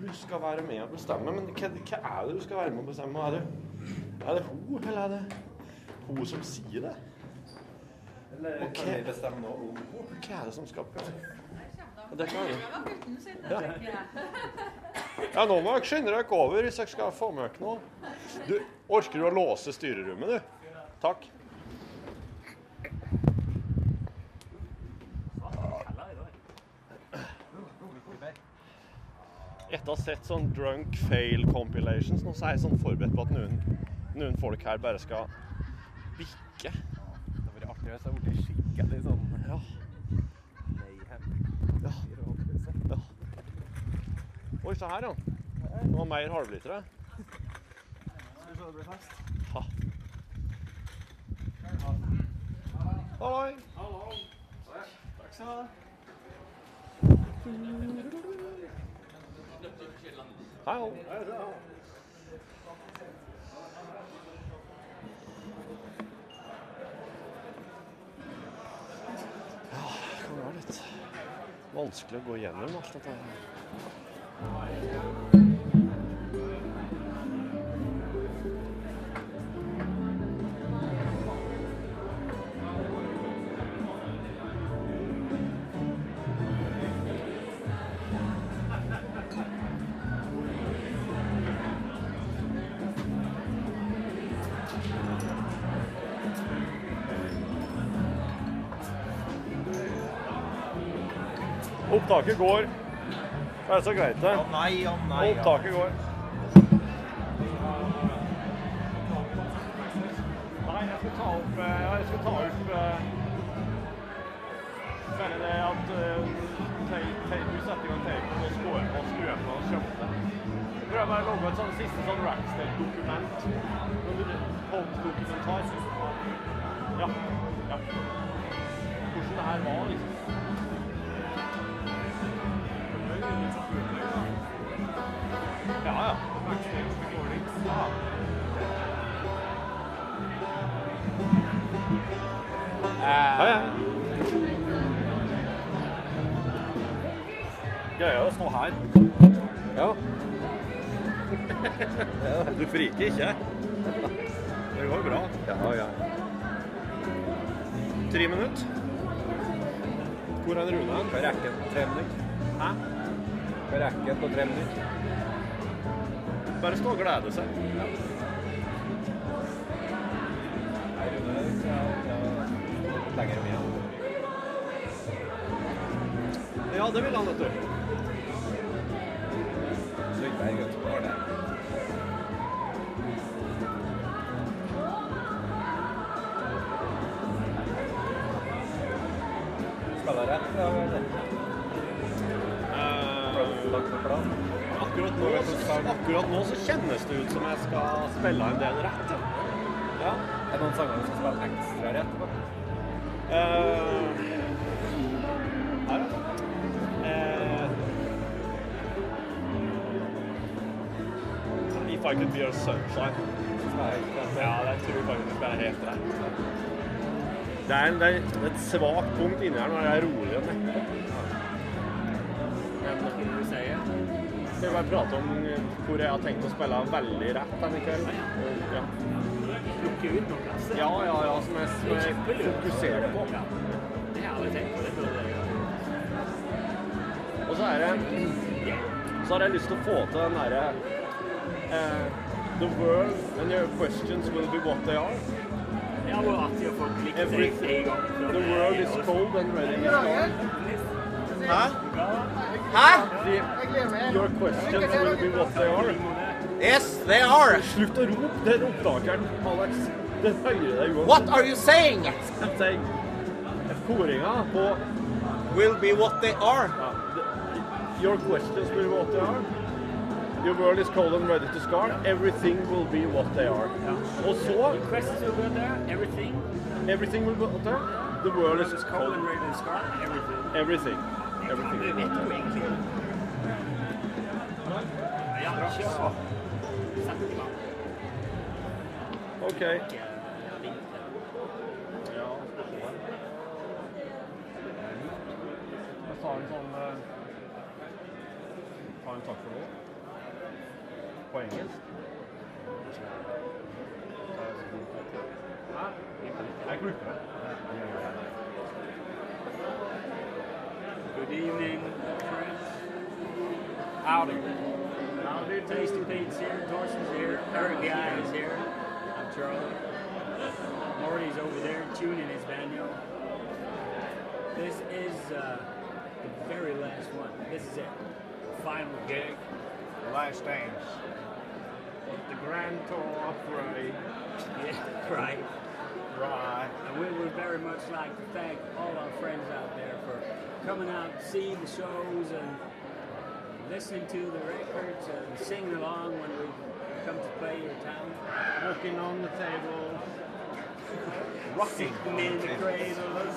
S1: du skal være med og bestemme. Men hva, hva er det du skal være med og bestemme? Er det, er det ho, eller er det hun som sier det?
S12: Eller
S1: Ok.
S12: kan vi bestemme nå om
S1: Hva er det som skal
S13: kommer
S1: Det kan jeg.
S13: var gutten sin, det
S1: Ja.
S13: tenker jeg.
S1: Ja, nå må dere skynde dere over hvis dere skal få med dere noe. Du, orker du å låse styrerommet, du? Takk. Etter å ha sett sånn drunk fail compilations, nå så er jeg sånn forberedt på at noen, noen folk her bare skal bikke.
S12: Det hadde vært artig hvis jeg ble skikkelig sånn
S1: Ja.
S12: Mayhem.
S1: Ja. ja. Oi, se her, ja. Det var mer halvlitere.
S14: Skal vi se det blir fest?
S1: Ha. Halloi.
S14: Hallo. Takk skal du ha.
S1: Hei, hå. Det kan være litt vanskelig å gå gjennom alt dette her. Opptaket går. Det er så greit, det.
S14: Å nei, å nei, ja.
S1: Opptaket går. Nei, jeg skal ta opp eh, Ja, jeg skal ta opp eh, Særlig det at eh, tape- tape- du setter i gang tapen og skårer på skruene og kjøpte. Prøv bare å logge et sånn siste sånn Rackstead-dokument. Sånn Holmes-dokumentar. Ja. ja. Hvordan det her var, liksom. Ja, ja. Ja, ja. Greia er å stå her. Ja. <laughs> Du friker ikke? Det går bra. Ja, ja. Tre minutter. Hvor er Rune? Hva rekker på tre minutter? Hæ? Hva rekker på tre minutter? Bare stå og glede seg. Ja, det vil han, vet du.
S12: Spiller rett, da, eller?
S1: Eh, Akkurat nå, så, akkurat nå så kjennes det ut som jeg skal spille en del rett. Ja. Er det noen sanger som spiller ekstra rett? på? Eh, her, da. Eh, if I could be your sunshine. Ja, det tror jeg faktisk er helt rett. Det er, en- det er et svakt punkt inni her når det er rolig og neppe. Men hva vil du si? Skal vi bare prate om hvor jeg har tenkt å spille veldig rett denne kvelden? Og, Ja. Plukke ut noen plasser? Ja, ja, ja, som jeg, som jeg fokuserer på.
S3: Det har jeg aldri tenkt på. Det burde jeg
S1: Og så er det Så har jeg lyst til å få til den derre eh, The world and your questions will be what they are.
S3: Det hadde vært artig å få klikket
S1: Everything.
S3: en gang. før
S1: The
S3: det-
S1: world is cold and ready is gone. Hæ?
S3: Hæ?
S1: The- Your questions will be what they are.
S6: Yes, they are.
S1: Slutt å rope. Den opptakeren, Alex. Den hører deg uansett.
S6: What are you saying?
S1: I'm saying Koringa på
S6: Will be what they are.
S1: Ja, the- your questions will be what they are. Your world is cold and ready to scar. Everything will be what they are. Og så
S3: Questions will be there. Everything.
S1: Everything will be what they are. The world is
S3: Cold and ready to scar. Everything.
S1: Everything. Everything.
S3: Det vet du egentlig. Ja, kjør på. Sett i gang.
S1: OK.
S15: Jeg tar en sånn eh, tar en takk for nå. På engelsk. Hæ?
S4: Jeg klipper.
S3: Good evening, friends. Howdy. Howdy, Tasty Pete's here, Dorsey's here, Eric Guy is here. I'm Charlie. Marty's over there tuning his banjo. This is uh, the very last one. This is it. Final gig. <laughs> Last dance. The grand tour, right? Yeah, right. Right. And we would very much like to thank all our friends out there for coming out, seeing the shows, and listening to the records and singing along when we come to play your town. Looking on the table. Rocking
S2: on the
S3: in the
S2: tables.
S3: cradles.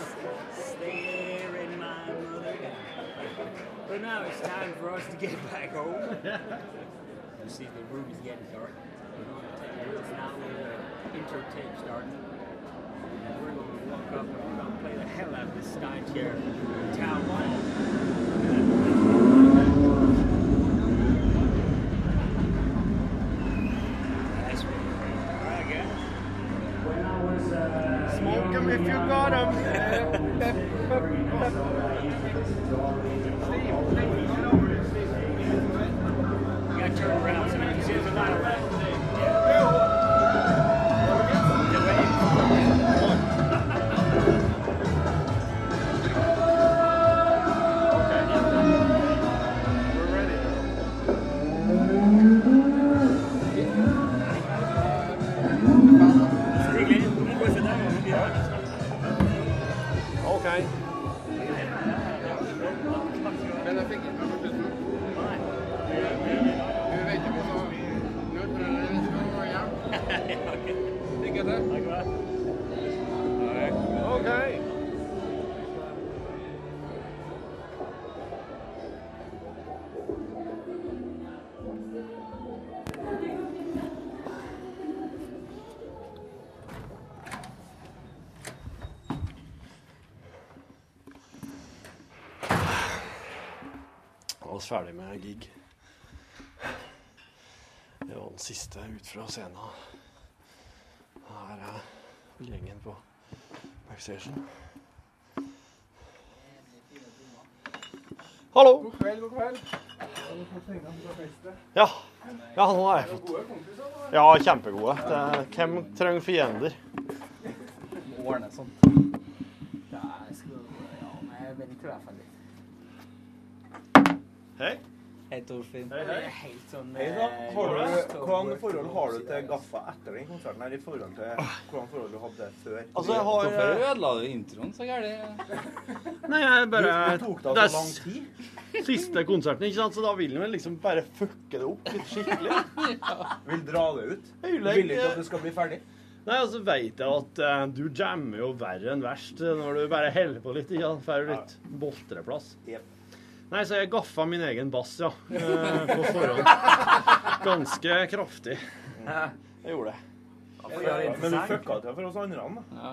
S3: Staring my mother down. But now it's time for us to get back home. you see, the room is getting dark. It's now the intro tape starting. And we're going to walk up and we're going to play the hell out of this stage here in town Smoke them if you got them. Got turned around so you can see there's a lot of left.
S1: Okay.
S16: Men jeg fikk ikke med meg slutten. Vi vet ikke hva vi Nå tror jeg vi skal hjem. Lykke til.
S1: Okay. Vi var ferdig med gig. Det var den siste ut fra scenen. Her er gjengen på backstation. Hallo!
S16: God kveld, god kveld. Har du fått pengene fra festet?
S1: Ja. ja, nå har
S16: Det er
S1: jeg fått
S16: gode kompiser, da.
S1: Ja, kjempegode. Det er, hvem trenger fiender?
S17: Må ordne sånt. Ja, jeg skal Ja, men jeg vet ikke hva jeg er ferdig.
S1: Hei.
S17: Hei, Torfinn.
S2: Hei, hei.
S17: Det er Helt sånn
S2: Hei da.
S17: eh,
S2: Har du,
S17: worst of
S2: hvordan
S17: worst
S2: forhold
S17: of
S2: har du
S17: worst.
S2: til Ah. gaffa etter den konserten her i forhold til hvordan forhold du hadde før?
S1: Altså, jeg har-
S17: Hvorfor ødela du introen så gærent?
S1: <laughs> Nei, jeg bare
S2: Det tok da så
S1: Det er
S2: lang
S1: s- Siste konserten, ikke sant? Så da vil han vel liksom bare fucke det opp litt skikkelig. <laughs>
S2: Vil dra det ut?
S1: Jeg vil
S2: Du vil ikke
S1: ikke-
S2: at det skal bli ferdig?
S1: Nei, altså veit jeg at eh, du jammer jo verre enn verst eh, når du bare holder på litt. Ja, får du litt boltreplass. Nei, så jeg gaffa min egen bass, <laughs> ja. eh, På forhånd. Ganske kraftig. Jeg gjorde det.
S2: Men du fucka til for oss andre, da.
S1: Ja.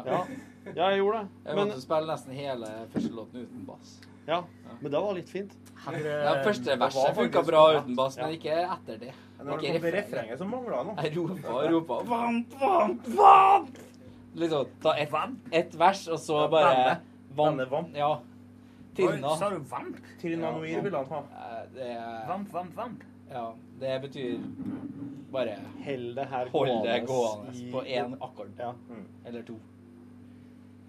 S1: ja, jeg gjorde det.
S17: Jeg
S1: Men-
S17: måtte spille nesten hele første låten uten bass.
S1: Ja, men det var litt fint.
S17: Ja, første verset funka bra uten bass, men ikke etter det.
S2: Når det kom til refrenget, så mangla noe.
S17: Jeg ropa og ropa Vamp, vamp, vamp! Liksom ta ett et vers, og så bare Vamp. sånn. Ja. Tirna.
S3: Oi, Sa du vamp?
S17: Tirnanoir
S2: ville
S17: han ha. Eh, Det er
S3: Vamp, vamp, vamp.
S17: Ja. Det betyr bare
S1: Hold det her
S17: Hold det
S1: gående
S17: gående
S1: i-
S17: på én akkord.
S1: Mm.
S17: Eller to.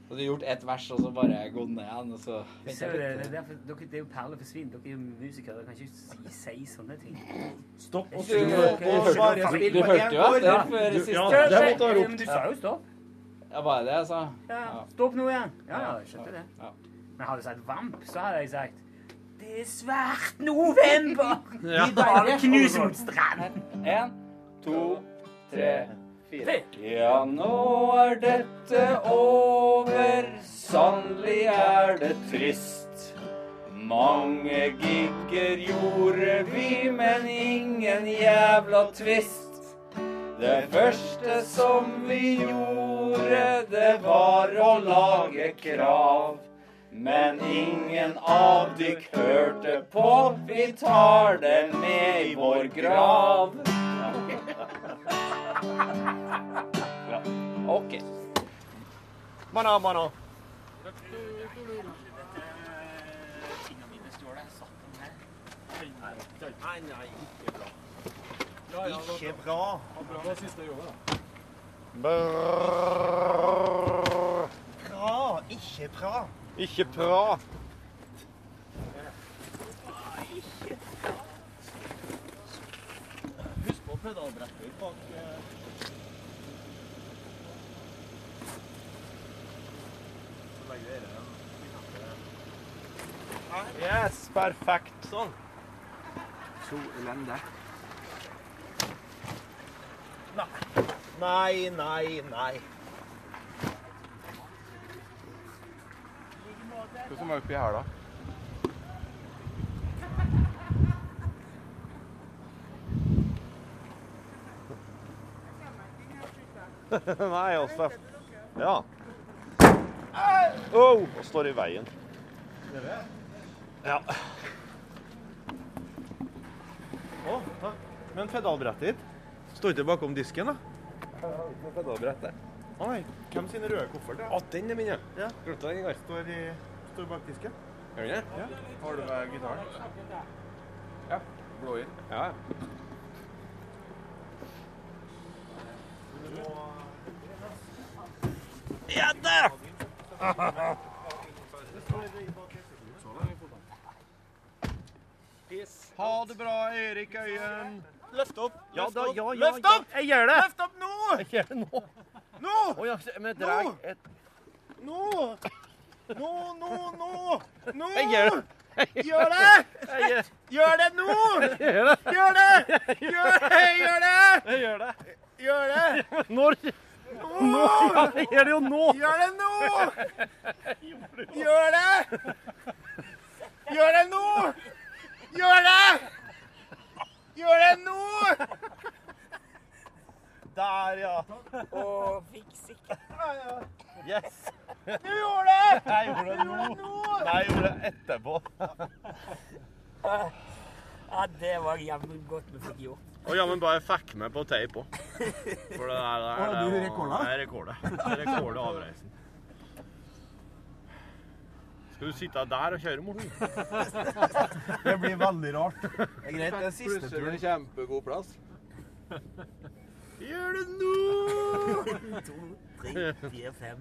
S17: Og du har gjort ett vers, og så bare gått ned igjen, og så
S3: Du ser jo det, det, er derfor, dere, det er jo perler for svin. Dere er jo musikere. Dere kan ikke si, si sånne ting.
S2: Stopp
S17: og spill på- på Sverige spill på en gård. Ja, du- ja, det måtte ha ropt.
S3: Men du sa jo stopp.
S17: Ja, bare det, altså.
S3: Ja, stopp nå igjen. Ja, ja,
S17: Ja,
S3: jeg skjønte
S17: ja,
S3: det. Men hadde jeg sagt vamp, så hadde jeg sagt Det er svært november!
S17: Ja.
S3: Vi bare knuser mot stranden.
S17: En, to, tre, fire.
S18: Ja, nå er dette over, sannelig er det trist. Mange gigger gjorde vi, men ingen jævla twist. Det første som vi gjorde, det var å lage krav. Men ingen av dykk hørte på, vi tar det med i vår grav. Ja. OK.
S1: Banan, banan.
S2: Nei, nei, ikke bra.
S1: Ikke bra.
S4: Det var siste jobben, da.
S1: Brrrr.
S2: Bra, ikke bra.
S1: Ikke bra.
S2: Husk på pedalbrettet bak eh,
S1: Yes, perfekt. Sånn.
S2: Så elendig. Nei, nei, nei.
S19: Hva som er oppi her, da?
S1: <laughs> Nei, Åsteff. Ja. Au! og står i veien. Ja.
S2: Å, da. Men pedalbrettet ditt? Står ikke bakom disken, da? Å nei. Hvem sin røde koffert? er det?
S20: Å, den er min, ja. Glemte den i går.
S2: Står, i- står bak disken?
S20: Gjør den det?
S2: Ja. Har du med gitaren? Ja. Blåir?
S20: Ja.
S2: Ja da! Ha det bra, Erik Øyen. Løft opp.
S1: Ja,
S2: løft
S1: da,
S2: opp,
S1: ja, ja,
S2: løft
S1: ja.
S2: opp!
S1: Jeg gjør det.
S2: Løft opp nå!
S1: Jeg gjør det nå.
S2: Nå!
S1: ja, men drag et...
S2: Nå! Nå, nå, nå! Nå!
S1: Jeg gjør det. Jeg Jeg
S2: Gjør det!
S1: gjør-
S2: Gjør det nå!
S1: Jeg gjør det.
S2: Gjør det! Gjør det! Gjør det!
S1: Jeg gjør det.
S2: Gjør det!
S1: Når? Nå! Ja, jeg gjør det jo nå.
S2: Gjør det nå! Gjør det! Gjør det nå! Gjør det! Gjør det nå! Der, ja. Å, fiks ikke.
S1: Yes.
S2: Du gjorde det!
S1: Jeg gjorde det nå. Nei, jeg gjorde det etterpå.
S3: Ja, det var jammen godt vi fikk gjort.
S1: Og jammen bare fikk med på teip òg. For det der, der det
S2: Å, du
S1: var-
S2: rekorda?
S1: Jeg rekorda. Jeg rekorda avreisen. Skal du sitte der og kjøre, Morten?
S2: Det blir veldig rart. Det er greit, det er siste
S19: Plutselig
S2: turen.
S19: en kjempegod plass.
S2: Gjør det nå!
S3: To, tre, fire, fem,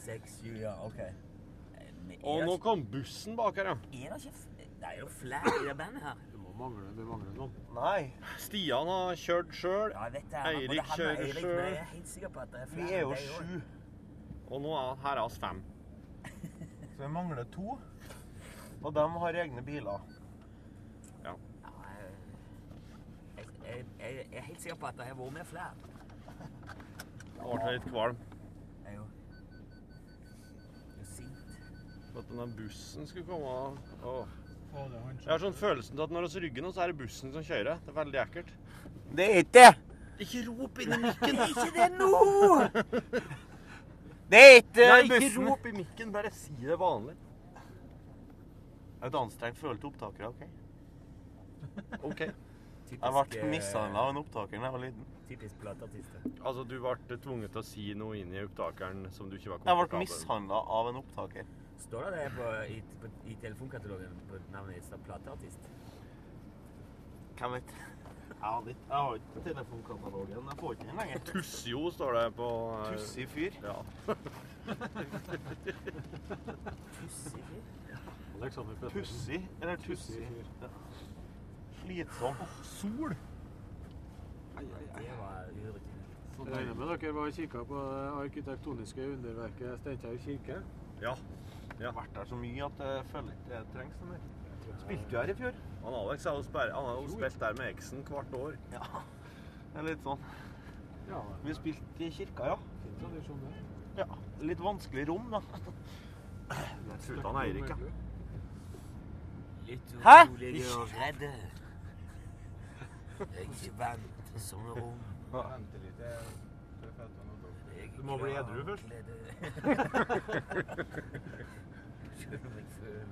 S3: seks, sju, ja, OK. Eh, Men er
S1: Og
S3: det
S1: nå
S3: ikke-
S1: kom bussen bak her, ja.
S3: Er det ikke f- Det er jo flere i det bandet her.
S1: Du må mangle, du mangler noen. Nei. Stian har kjørt sjøl.
S3: Både
S1: Eirik
S3: han og
S1: kjører
S3: Eirik, men Jeg er
S1: sjøl.
S3: helt sikker på at det er
S2: Vi
S3: flere.
S2: er jo
S3: enn deg også.
S2: sju.
S1: Og nå er her er oss fem.
S2: Så vi mangler to. Og de har egne biler.
S1: Ja.
S3: Jeg, jeg, jeg, jeg er helt sikker på at det har vært med flere.
S1: Nå ble jeg litt kvalm.
S3: Jeg er jo jeg er sint.
S1: For At denne bussen skulle komme og Jeg har sånn følelsen til at når vi rygger nå, så er det bussen som kjører. Det er veldig ekkelt.
S2: Det er ikke det!
S1: Ikke rop inn i <laughs> mikken!
S2: Det er ikke det <laughs> nå!
S1: Det
S2: er ikke
S1: Nei,
S2: bussen.
S1: Ikke rop i mikken, bare si det vanlig.
S2: Et anstrengt forhold til opptakere,
S1: <laughs>
S2: OK?
S1: OK.
S2: Jeg ble mishandla av en opptaker da jeg var liten.
S3: eh, Typisk plateartister.
S1: Altså, du ble tvunget til å si noe inn i opptakeren som du ikke var
S2: Jeg
S1: komfortabel
S2: ble mishandla av en opptaker.
S3: Står det det på, i, på, i telefonkatalogen på navnet ditt som plateartist?
S2: Hvem vet? Jeg har ikke- jeg har ikke telefonkatalogen. Jeg får ikke den lenger.
S1: Tussjo står det på eh,
S2: Tussig fyr.
S1: Ja.
S2: Tussig fyr?
S4: Alexander Pettersen.
S2: Pussig eller tussig? Ja. Slitsom. Sol?
S3: Det var urutinert.
S4: Jeg regner med dere var og kikket på det arkitektoniske underverket Steinkjer kirke?
S1: Ja.
S2: Jeg har vært der så mye at jeg føler ikke det trengs noe mer. Spilte du her i fjor?
S1: Han Alex har jo sperre- han har jo spilt der med eksen hvert år.
S2: Ja. Det er litt sånn. Vi spilte i kirka, ja.
S4: Fin tradisjon, det.
S2: ja. Litt vanskelig rom, da.
S1: Uten Eirik, ja.
S3: Litt
S2: Hæ?
S3: urolige og redde. Jeg er ikke vant til sånne rom.
S2: Du må bli edru først.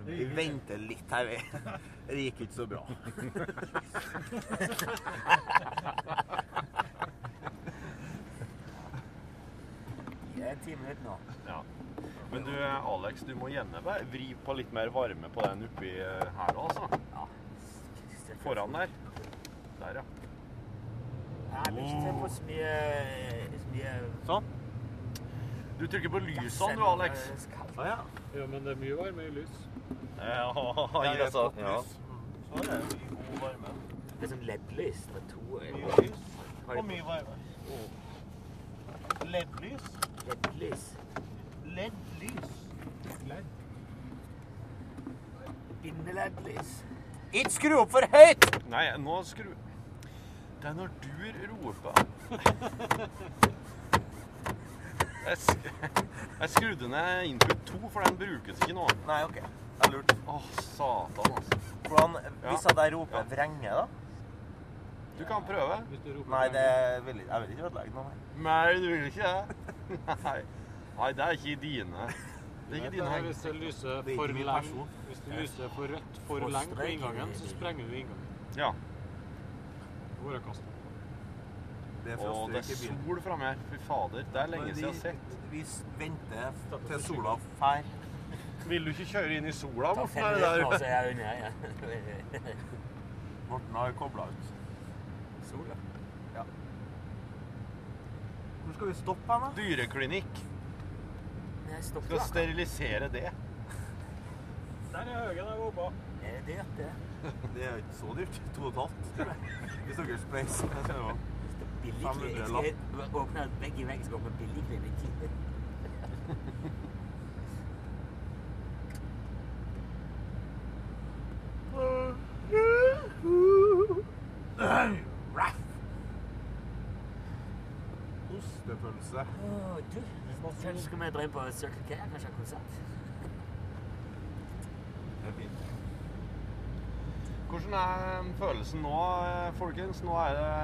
S2: Vi venter litt her, vi. Det gikk ikke så bra.
S3: Det er ti minutter nå.
S1: Ja. Men du, Alex, du må gjerne bare vri på litt mer varme på den oppi eh, her òg, altså. Foran der. Der, ja.
S2: Jeg vil ikke se på så mye, så mye
S1: Sånn. Du trykker på lysene,
S3: Sånn,
S1: du, Alex. Ja, ja.
S4: Ja, men det er mye varme i lys.
S1: Eh, Ja,
S4: Ja, det er
S1: altså.
S4: flott
S1: Ja.
S4: lys.
S1: Så er det jo god varme.
S2: Det er sånn LED-lys med to
S1: Mye lys og mye varme.
S21: LED-lys.
S2: LED-lys.
S21: LED-lys.
S2: Bindeledd-lys.
S21: Ikke skru opp for høyt!
S1: Nei, nå skru Det er når du roper. Jeg, sk jeg skrudde ned input 2, for den brukes ikke nå.
S2: Nei, OK. Det er lurt.
S1: Å, satan, altså.
S2: Hvordan, hvis
S1: Ja.
S2: jeg da roper vrenge, da?
S1: Du kan prøve.
S2: Nei, det vil, jeg vil ikke ødelegge noe.
S1: Nei, du vil ikke det? Nei. Nei, det er ikke dine. Det er ikke dine.
S4: Hvis det lyser
S1: Det er
S4: for
S1: ikke min
S4: lenge,
S1: person.
S4: hvis det lyser for rødt for lenge på inngangen, så sprenger du inngangen.
S1: Ja.
S4: Hvor er kastet?
S2: Det er
S1: Å,
S2: frostryk
S1: det er
S2: i bilen.
S1: sol framme her. Fy fader. Det er lenge
S2: Men
S1: siden jeg har
S2: vi-
S1: sett.
S2: Vi s- venter til sola fær.
S1: Vil du ikke kjøre inn i sola
S2: Ta
S1: borten her?
S2: fem
S1: Der.
S2: minutter, så er Altså, jeg unna igjen. Morten har kobla ut. Sola? Ja. Hvor skal vi stoppe hen, da?
S1: Dyreklinikk.
S2: Jeg stopper,
S1: Skal
S2: da.
S1: sterilisere det.
S4: Der er høgen jeg var på.
S2: Er det det? det? Det er jo ikke så dyrt. <laughs> To og et halvt, tror jeg. Hvis dere spleiser. Jeg ser jo
S3: Billig
S2: 500
S3: klinikk.
S2: lapp.
S3: Jeg skal åpne et begge veggskap med billig klinikk.
S2: Raff! Ostepølse.
S3: Åh, du, kanskje skal vi dra inn på Circle K? Kanskje ha konsert?
S2: Det er fint.
S1: Hvordan er følelsen nå, eh, folkens? Nå er det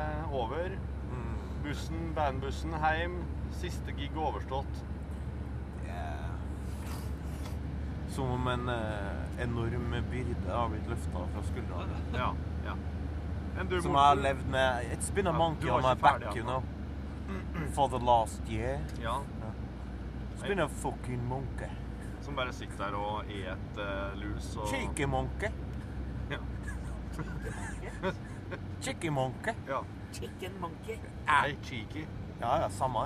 S1: over. Mm. Bussen, bandbussen hjem. Siste gig overstått.
S2: Som om en eh, enorm byrde har blitt løfta fra skuldrene.
S1: Ja, ja. Men du,
S2: Som
S1: Morten-
S2: jeg har levd med It's been a
S1: Ja,
S2: monkey
S1: du var
S2: on my
S1: ikke ferdig
S2: back, you
S1: ennå.
S2: know. For the last year.
S1: Ja.
S2: It's been a fucking monkey.
S1: Som bare sitter der og et eh, lus og
S2: Cheeky monkey.
S1: Ja.
S2: Cheeky monkey.
S1: Ja.
S3: Chicken monkey.
S1: Nei, cheeky.
S2: Ja, ja, samme.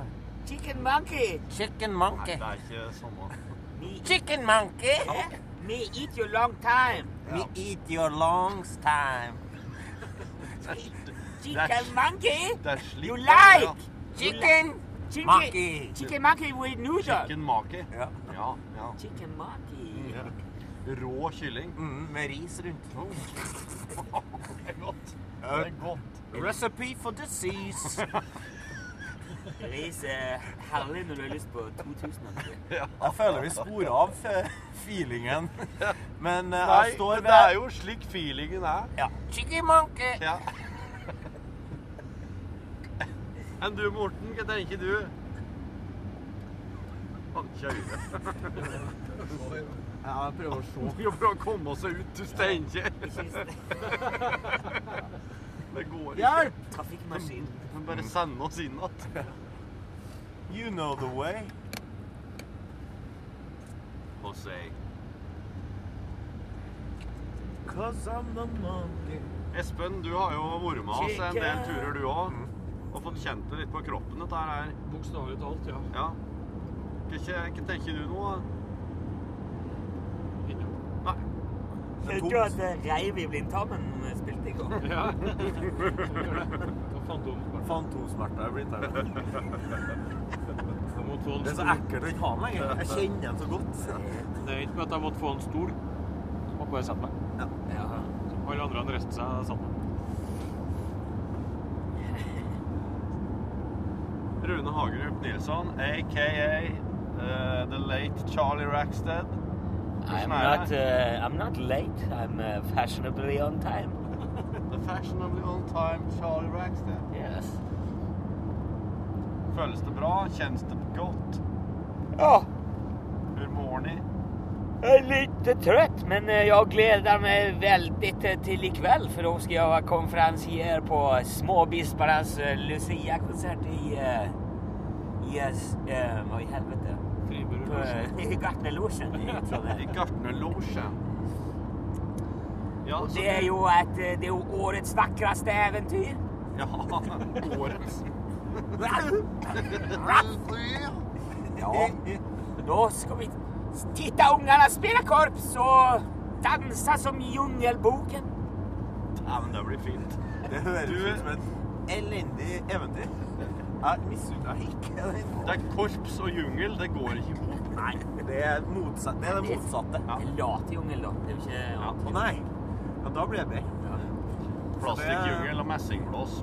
S3: Chicken monkey.
S2: Chicken monkey.
S1: Nei, det er ikke sånn
S2: <laughs>
S1: samme.
S3: Chicken monkey. Me eat you long time.
S2: We eat your longs time.
S3: Chicken monkey.
S1: Det er slik
S3: You
S1: det
S3: like
S1: er, ja.
S3: chicken. Chicken
S1: Monkey.
S3: Chicken monkey with noodle.
S1: Chicken maki.
S2: Ja.
S1: ja, ja.
S3: Chicken monkey.
S1: Ja. Rå kylling.
S2: med ris rundt.
S1: det er godt.
S2: Ja.
S1: Det er godt.
S2: Recipe for disease.
S3: Ris er herlig når du har lyst på 2000 monkey.
S2: Jeg føler vi sporer av eh,
S1: <laughs>
S2: feelingen. Men eh,
S1: Nei,
S2: jeg står
S1: men det er jo slik feelingen er.
S2: Ja. Chicken monkey.
S1: Ja. <laughs> Enn du, Morten, hva tenker du? Han kjører.
S21: Jeg prøver å se.
S1: Vi må prøve å komme oss ut, du steinkjer. <laughs> Det går ikke.
S21: Hjelp!
S1: Trafikkmaskin. Men bare sende oss inn igjen.
S2: You know the way.
S1: Jose.
S2: Cause I'm the monkey.
S1: Espen, du har jo vært med oss en del turer, du òg. Og fått kjent det litt på kroppen, dette her.
S4: Bokstavelig talt, ja.
S1: Ja. Hva kje- hva tenker du nå? Nei.
S3: Hørte du at eh, Reiv i blindtarmen eh, spilte i går?
S4: Ja. Fantomsmerter.
S2: Fantomsmerter er
S4: <laughs>
S2: blitt
S4: Jeg måtte få en
S2: Det er så
S4: stol.
S2: ekkelt å ikke ha den lenger. Jeg kjenner den så godt.
S4: Det er ikke med at jeg måtte få en stol. Måtte bare sette meg.
S3: Ja.
S4: Alle andre han reiste seg sammen.
S1: Rune Hagerup Nilsson, aka eh, The Late Charlie Rackstead. Hvordan
S3: I'm
S1: er
S3: not,
S1: det?
S3: uh, I'm not late. I'm uh, fashionably on time.
S1: The fashionably on time Charlie Rackstead.
S3: Yes.
S1: Føles det bra? Kjennes det godt?
S3: Ja.
S1: Hur mår ni?
S3: Jag är lite trött, men eh, jag gläder mig väldigt eh, till ikväll för då ska jag vara konferencier på Småbisparnas eh, Lucia-konsert i... eh, i... eh, s- eh, Vad i helvete?
S1: Retriever
S3: I gartnerlosjen i Trondheim.
S1: I gartnerlosjen. Ja,
S3: Og
S1: så-
S3: det er jo et, eh, det er jo årets vakreste eventyr.
S1: Ja, årets.
S3: Ja. Nå skal eh, vi titta ungarna spela korps och dansa som i djungelboken.
S2: Dæven, det blir fint. Det høres ut som et elendig eventyr. Jeg misunner deg ikke
S1: Det er korps og jungel, det går ikke i hop.
S2: Nei, det er, motsatt, det, er det motsatte. Ja.
S3: Lat jungel, da. Det eh, er jo ikke
S2: Å nei. Ja, da blir det bedre.
S1: Plastikkjungel og messingblås.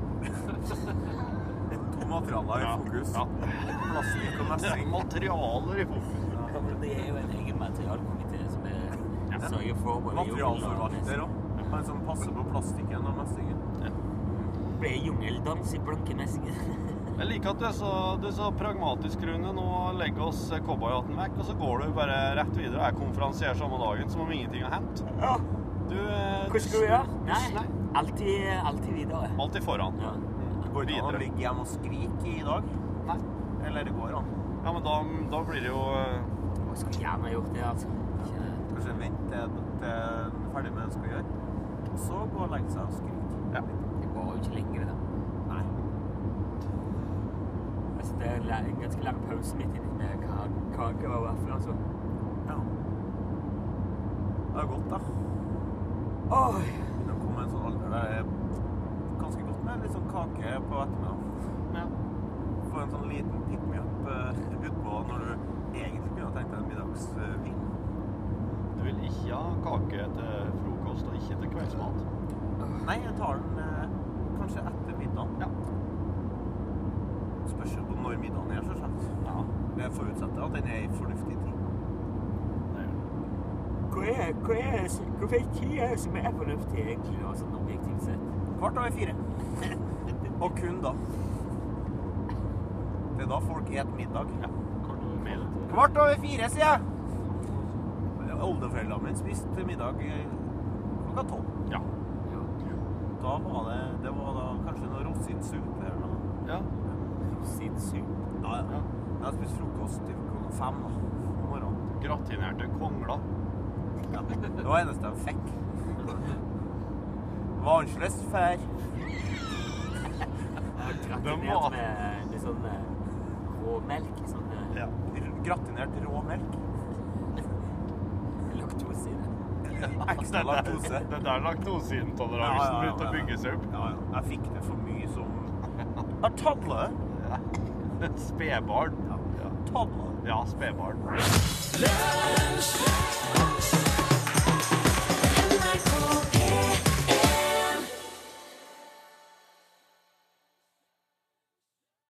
S2: To materialer i fokus. Plastikk og messing.
S1: Materialer i fokus.
S3: Det er jo en egen materialkomité som er sørger for både
S2: Materialforvalter òg. Han som passer på plastikken og messingen.
S3: Ble jungeldans i blankemessingen.
S1: Jeg liker at du er så, du er så pragmatisk, Rune. Nå legger oss cowboyhatten vekk, og så går du bare rett videre. Jeg konferansierer samme dagen som om ingenting har hendt.
S3: Ja.
S1: Du, eh,
S3: Hva skal vi gjøre?
S1: du-
S3: Nei, alltid, alltid videre.
S1: Alltid foran.
S3: Ja.
S2: Går det an å ligge hjemme og skrike i dag?
S1: Nei.
S2: Eller det går an?
S1: Ja, men da, da blir det jo eh,
S3: Jeg skulle gjerne gjort det, altså.
S2: Kanskje vente til til en er ferdig med det en skal gjøre, og så gå og legge seg og skrike.
S3: Det går jo ikke lenger, det da.
S2: Nei.
S3: Altså, det er la- en ganske lang pause midt inni med ka- kake og vafler, altså.
S2: Ja. Det er godt, da.
S3: Oi!
S2: Begynner å komme en sånn alder der det er ganske godt med litt sånn kake på ettermiddagen.
S1: Ja.
S2: Få en sånn liten pick-me-up eh, utpå når du egentlig kunne ha tenkt deg en middagsvin.
S1: Du vil ikke ha kake til frokost og ikke til kveldsmat.
S2: Nei, jeg tar den eh, kanskje etter middagen. Spørs jo på når middagen er, selvsagt. Ja. Men jeg forutsetter at den er en fornuftig tid.
S3: Hva er, hva er, hvorfor er tida som er fornuftig, egentlig, da, sånn objektivt sett?
S2: Kvart over fire. Og kun da. Det er da folk et middag. Kvart over fire, sier jeg! Oldeforeldrene mine spiste middag eh, klokka tolv.
S1: Ja.
S2: Da var det, det var da kanskje noe rosinsuppe eller noe.
S1: Ja.
S3: Rosinsuppe?
S2: Ja, ja. Jeg har spist frokost til klokka fem da, om morgenen.
S1: Gratinerte kongler.
S2: Ja. Det var det eneste jeg fikk. Vanskelig fær.
S3: Gratinert med litt sånn eh, råmelk. Sånn eh,
S2: Gratinert rå melk.
S3: <laughs> laktose i det.
S2: Ekstra laktose.
S1: <laughs> Det er der laktoseintoleransen
S2: Ja, ja, ja,
S1: begynte å
S2: ja.
S1: bygge seg opp.
S2: Ja, ja. Jeg fikk det for mye som Jeg tadla det.
S1: Et spedbarn. Ja.
S2: Tadla.
S1: Ja, spedbarn.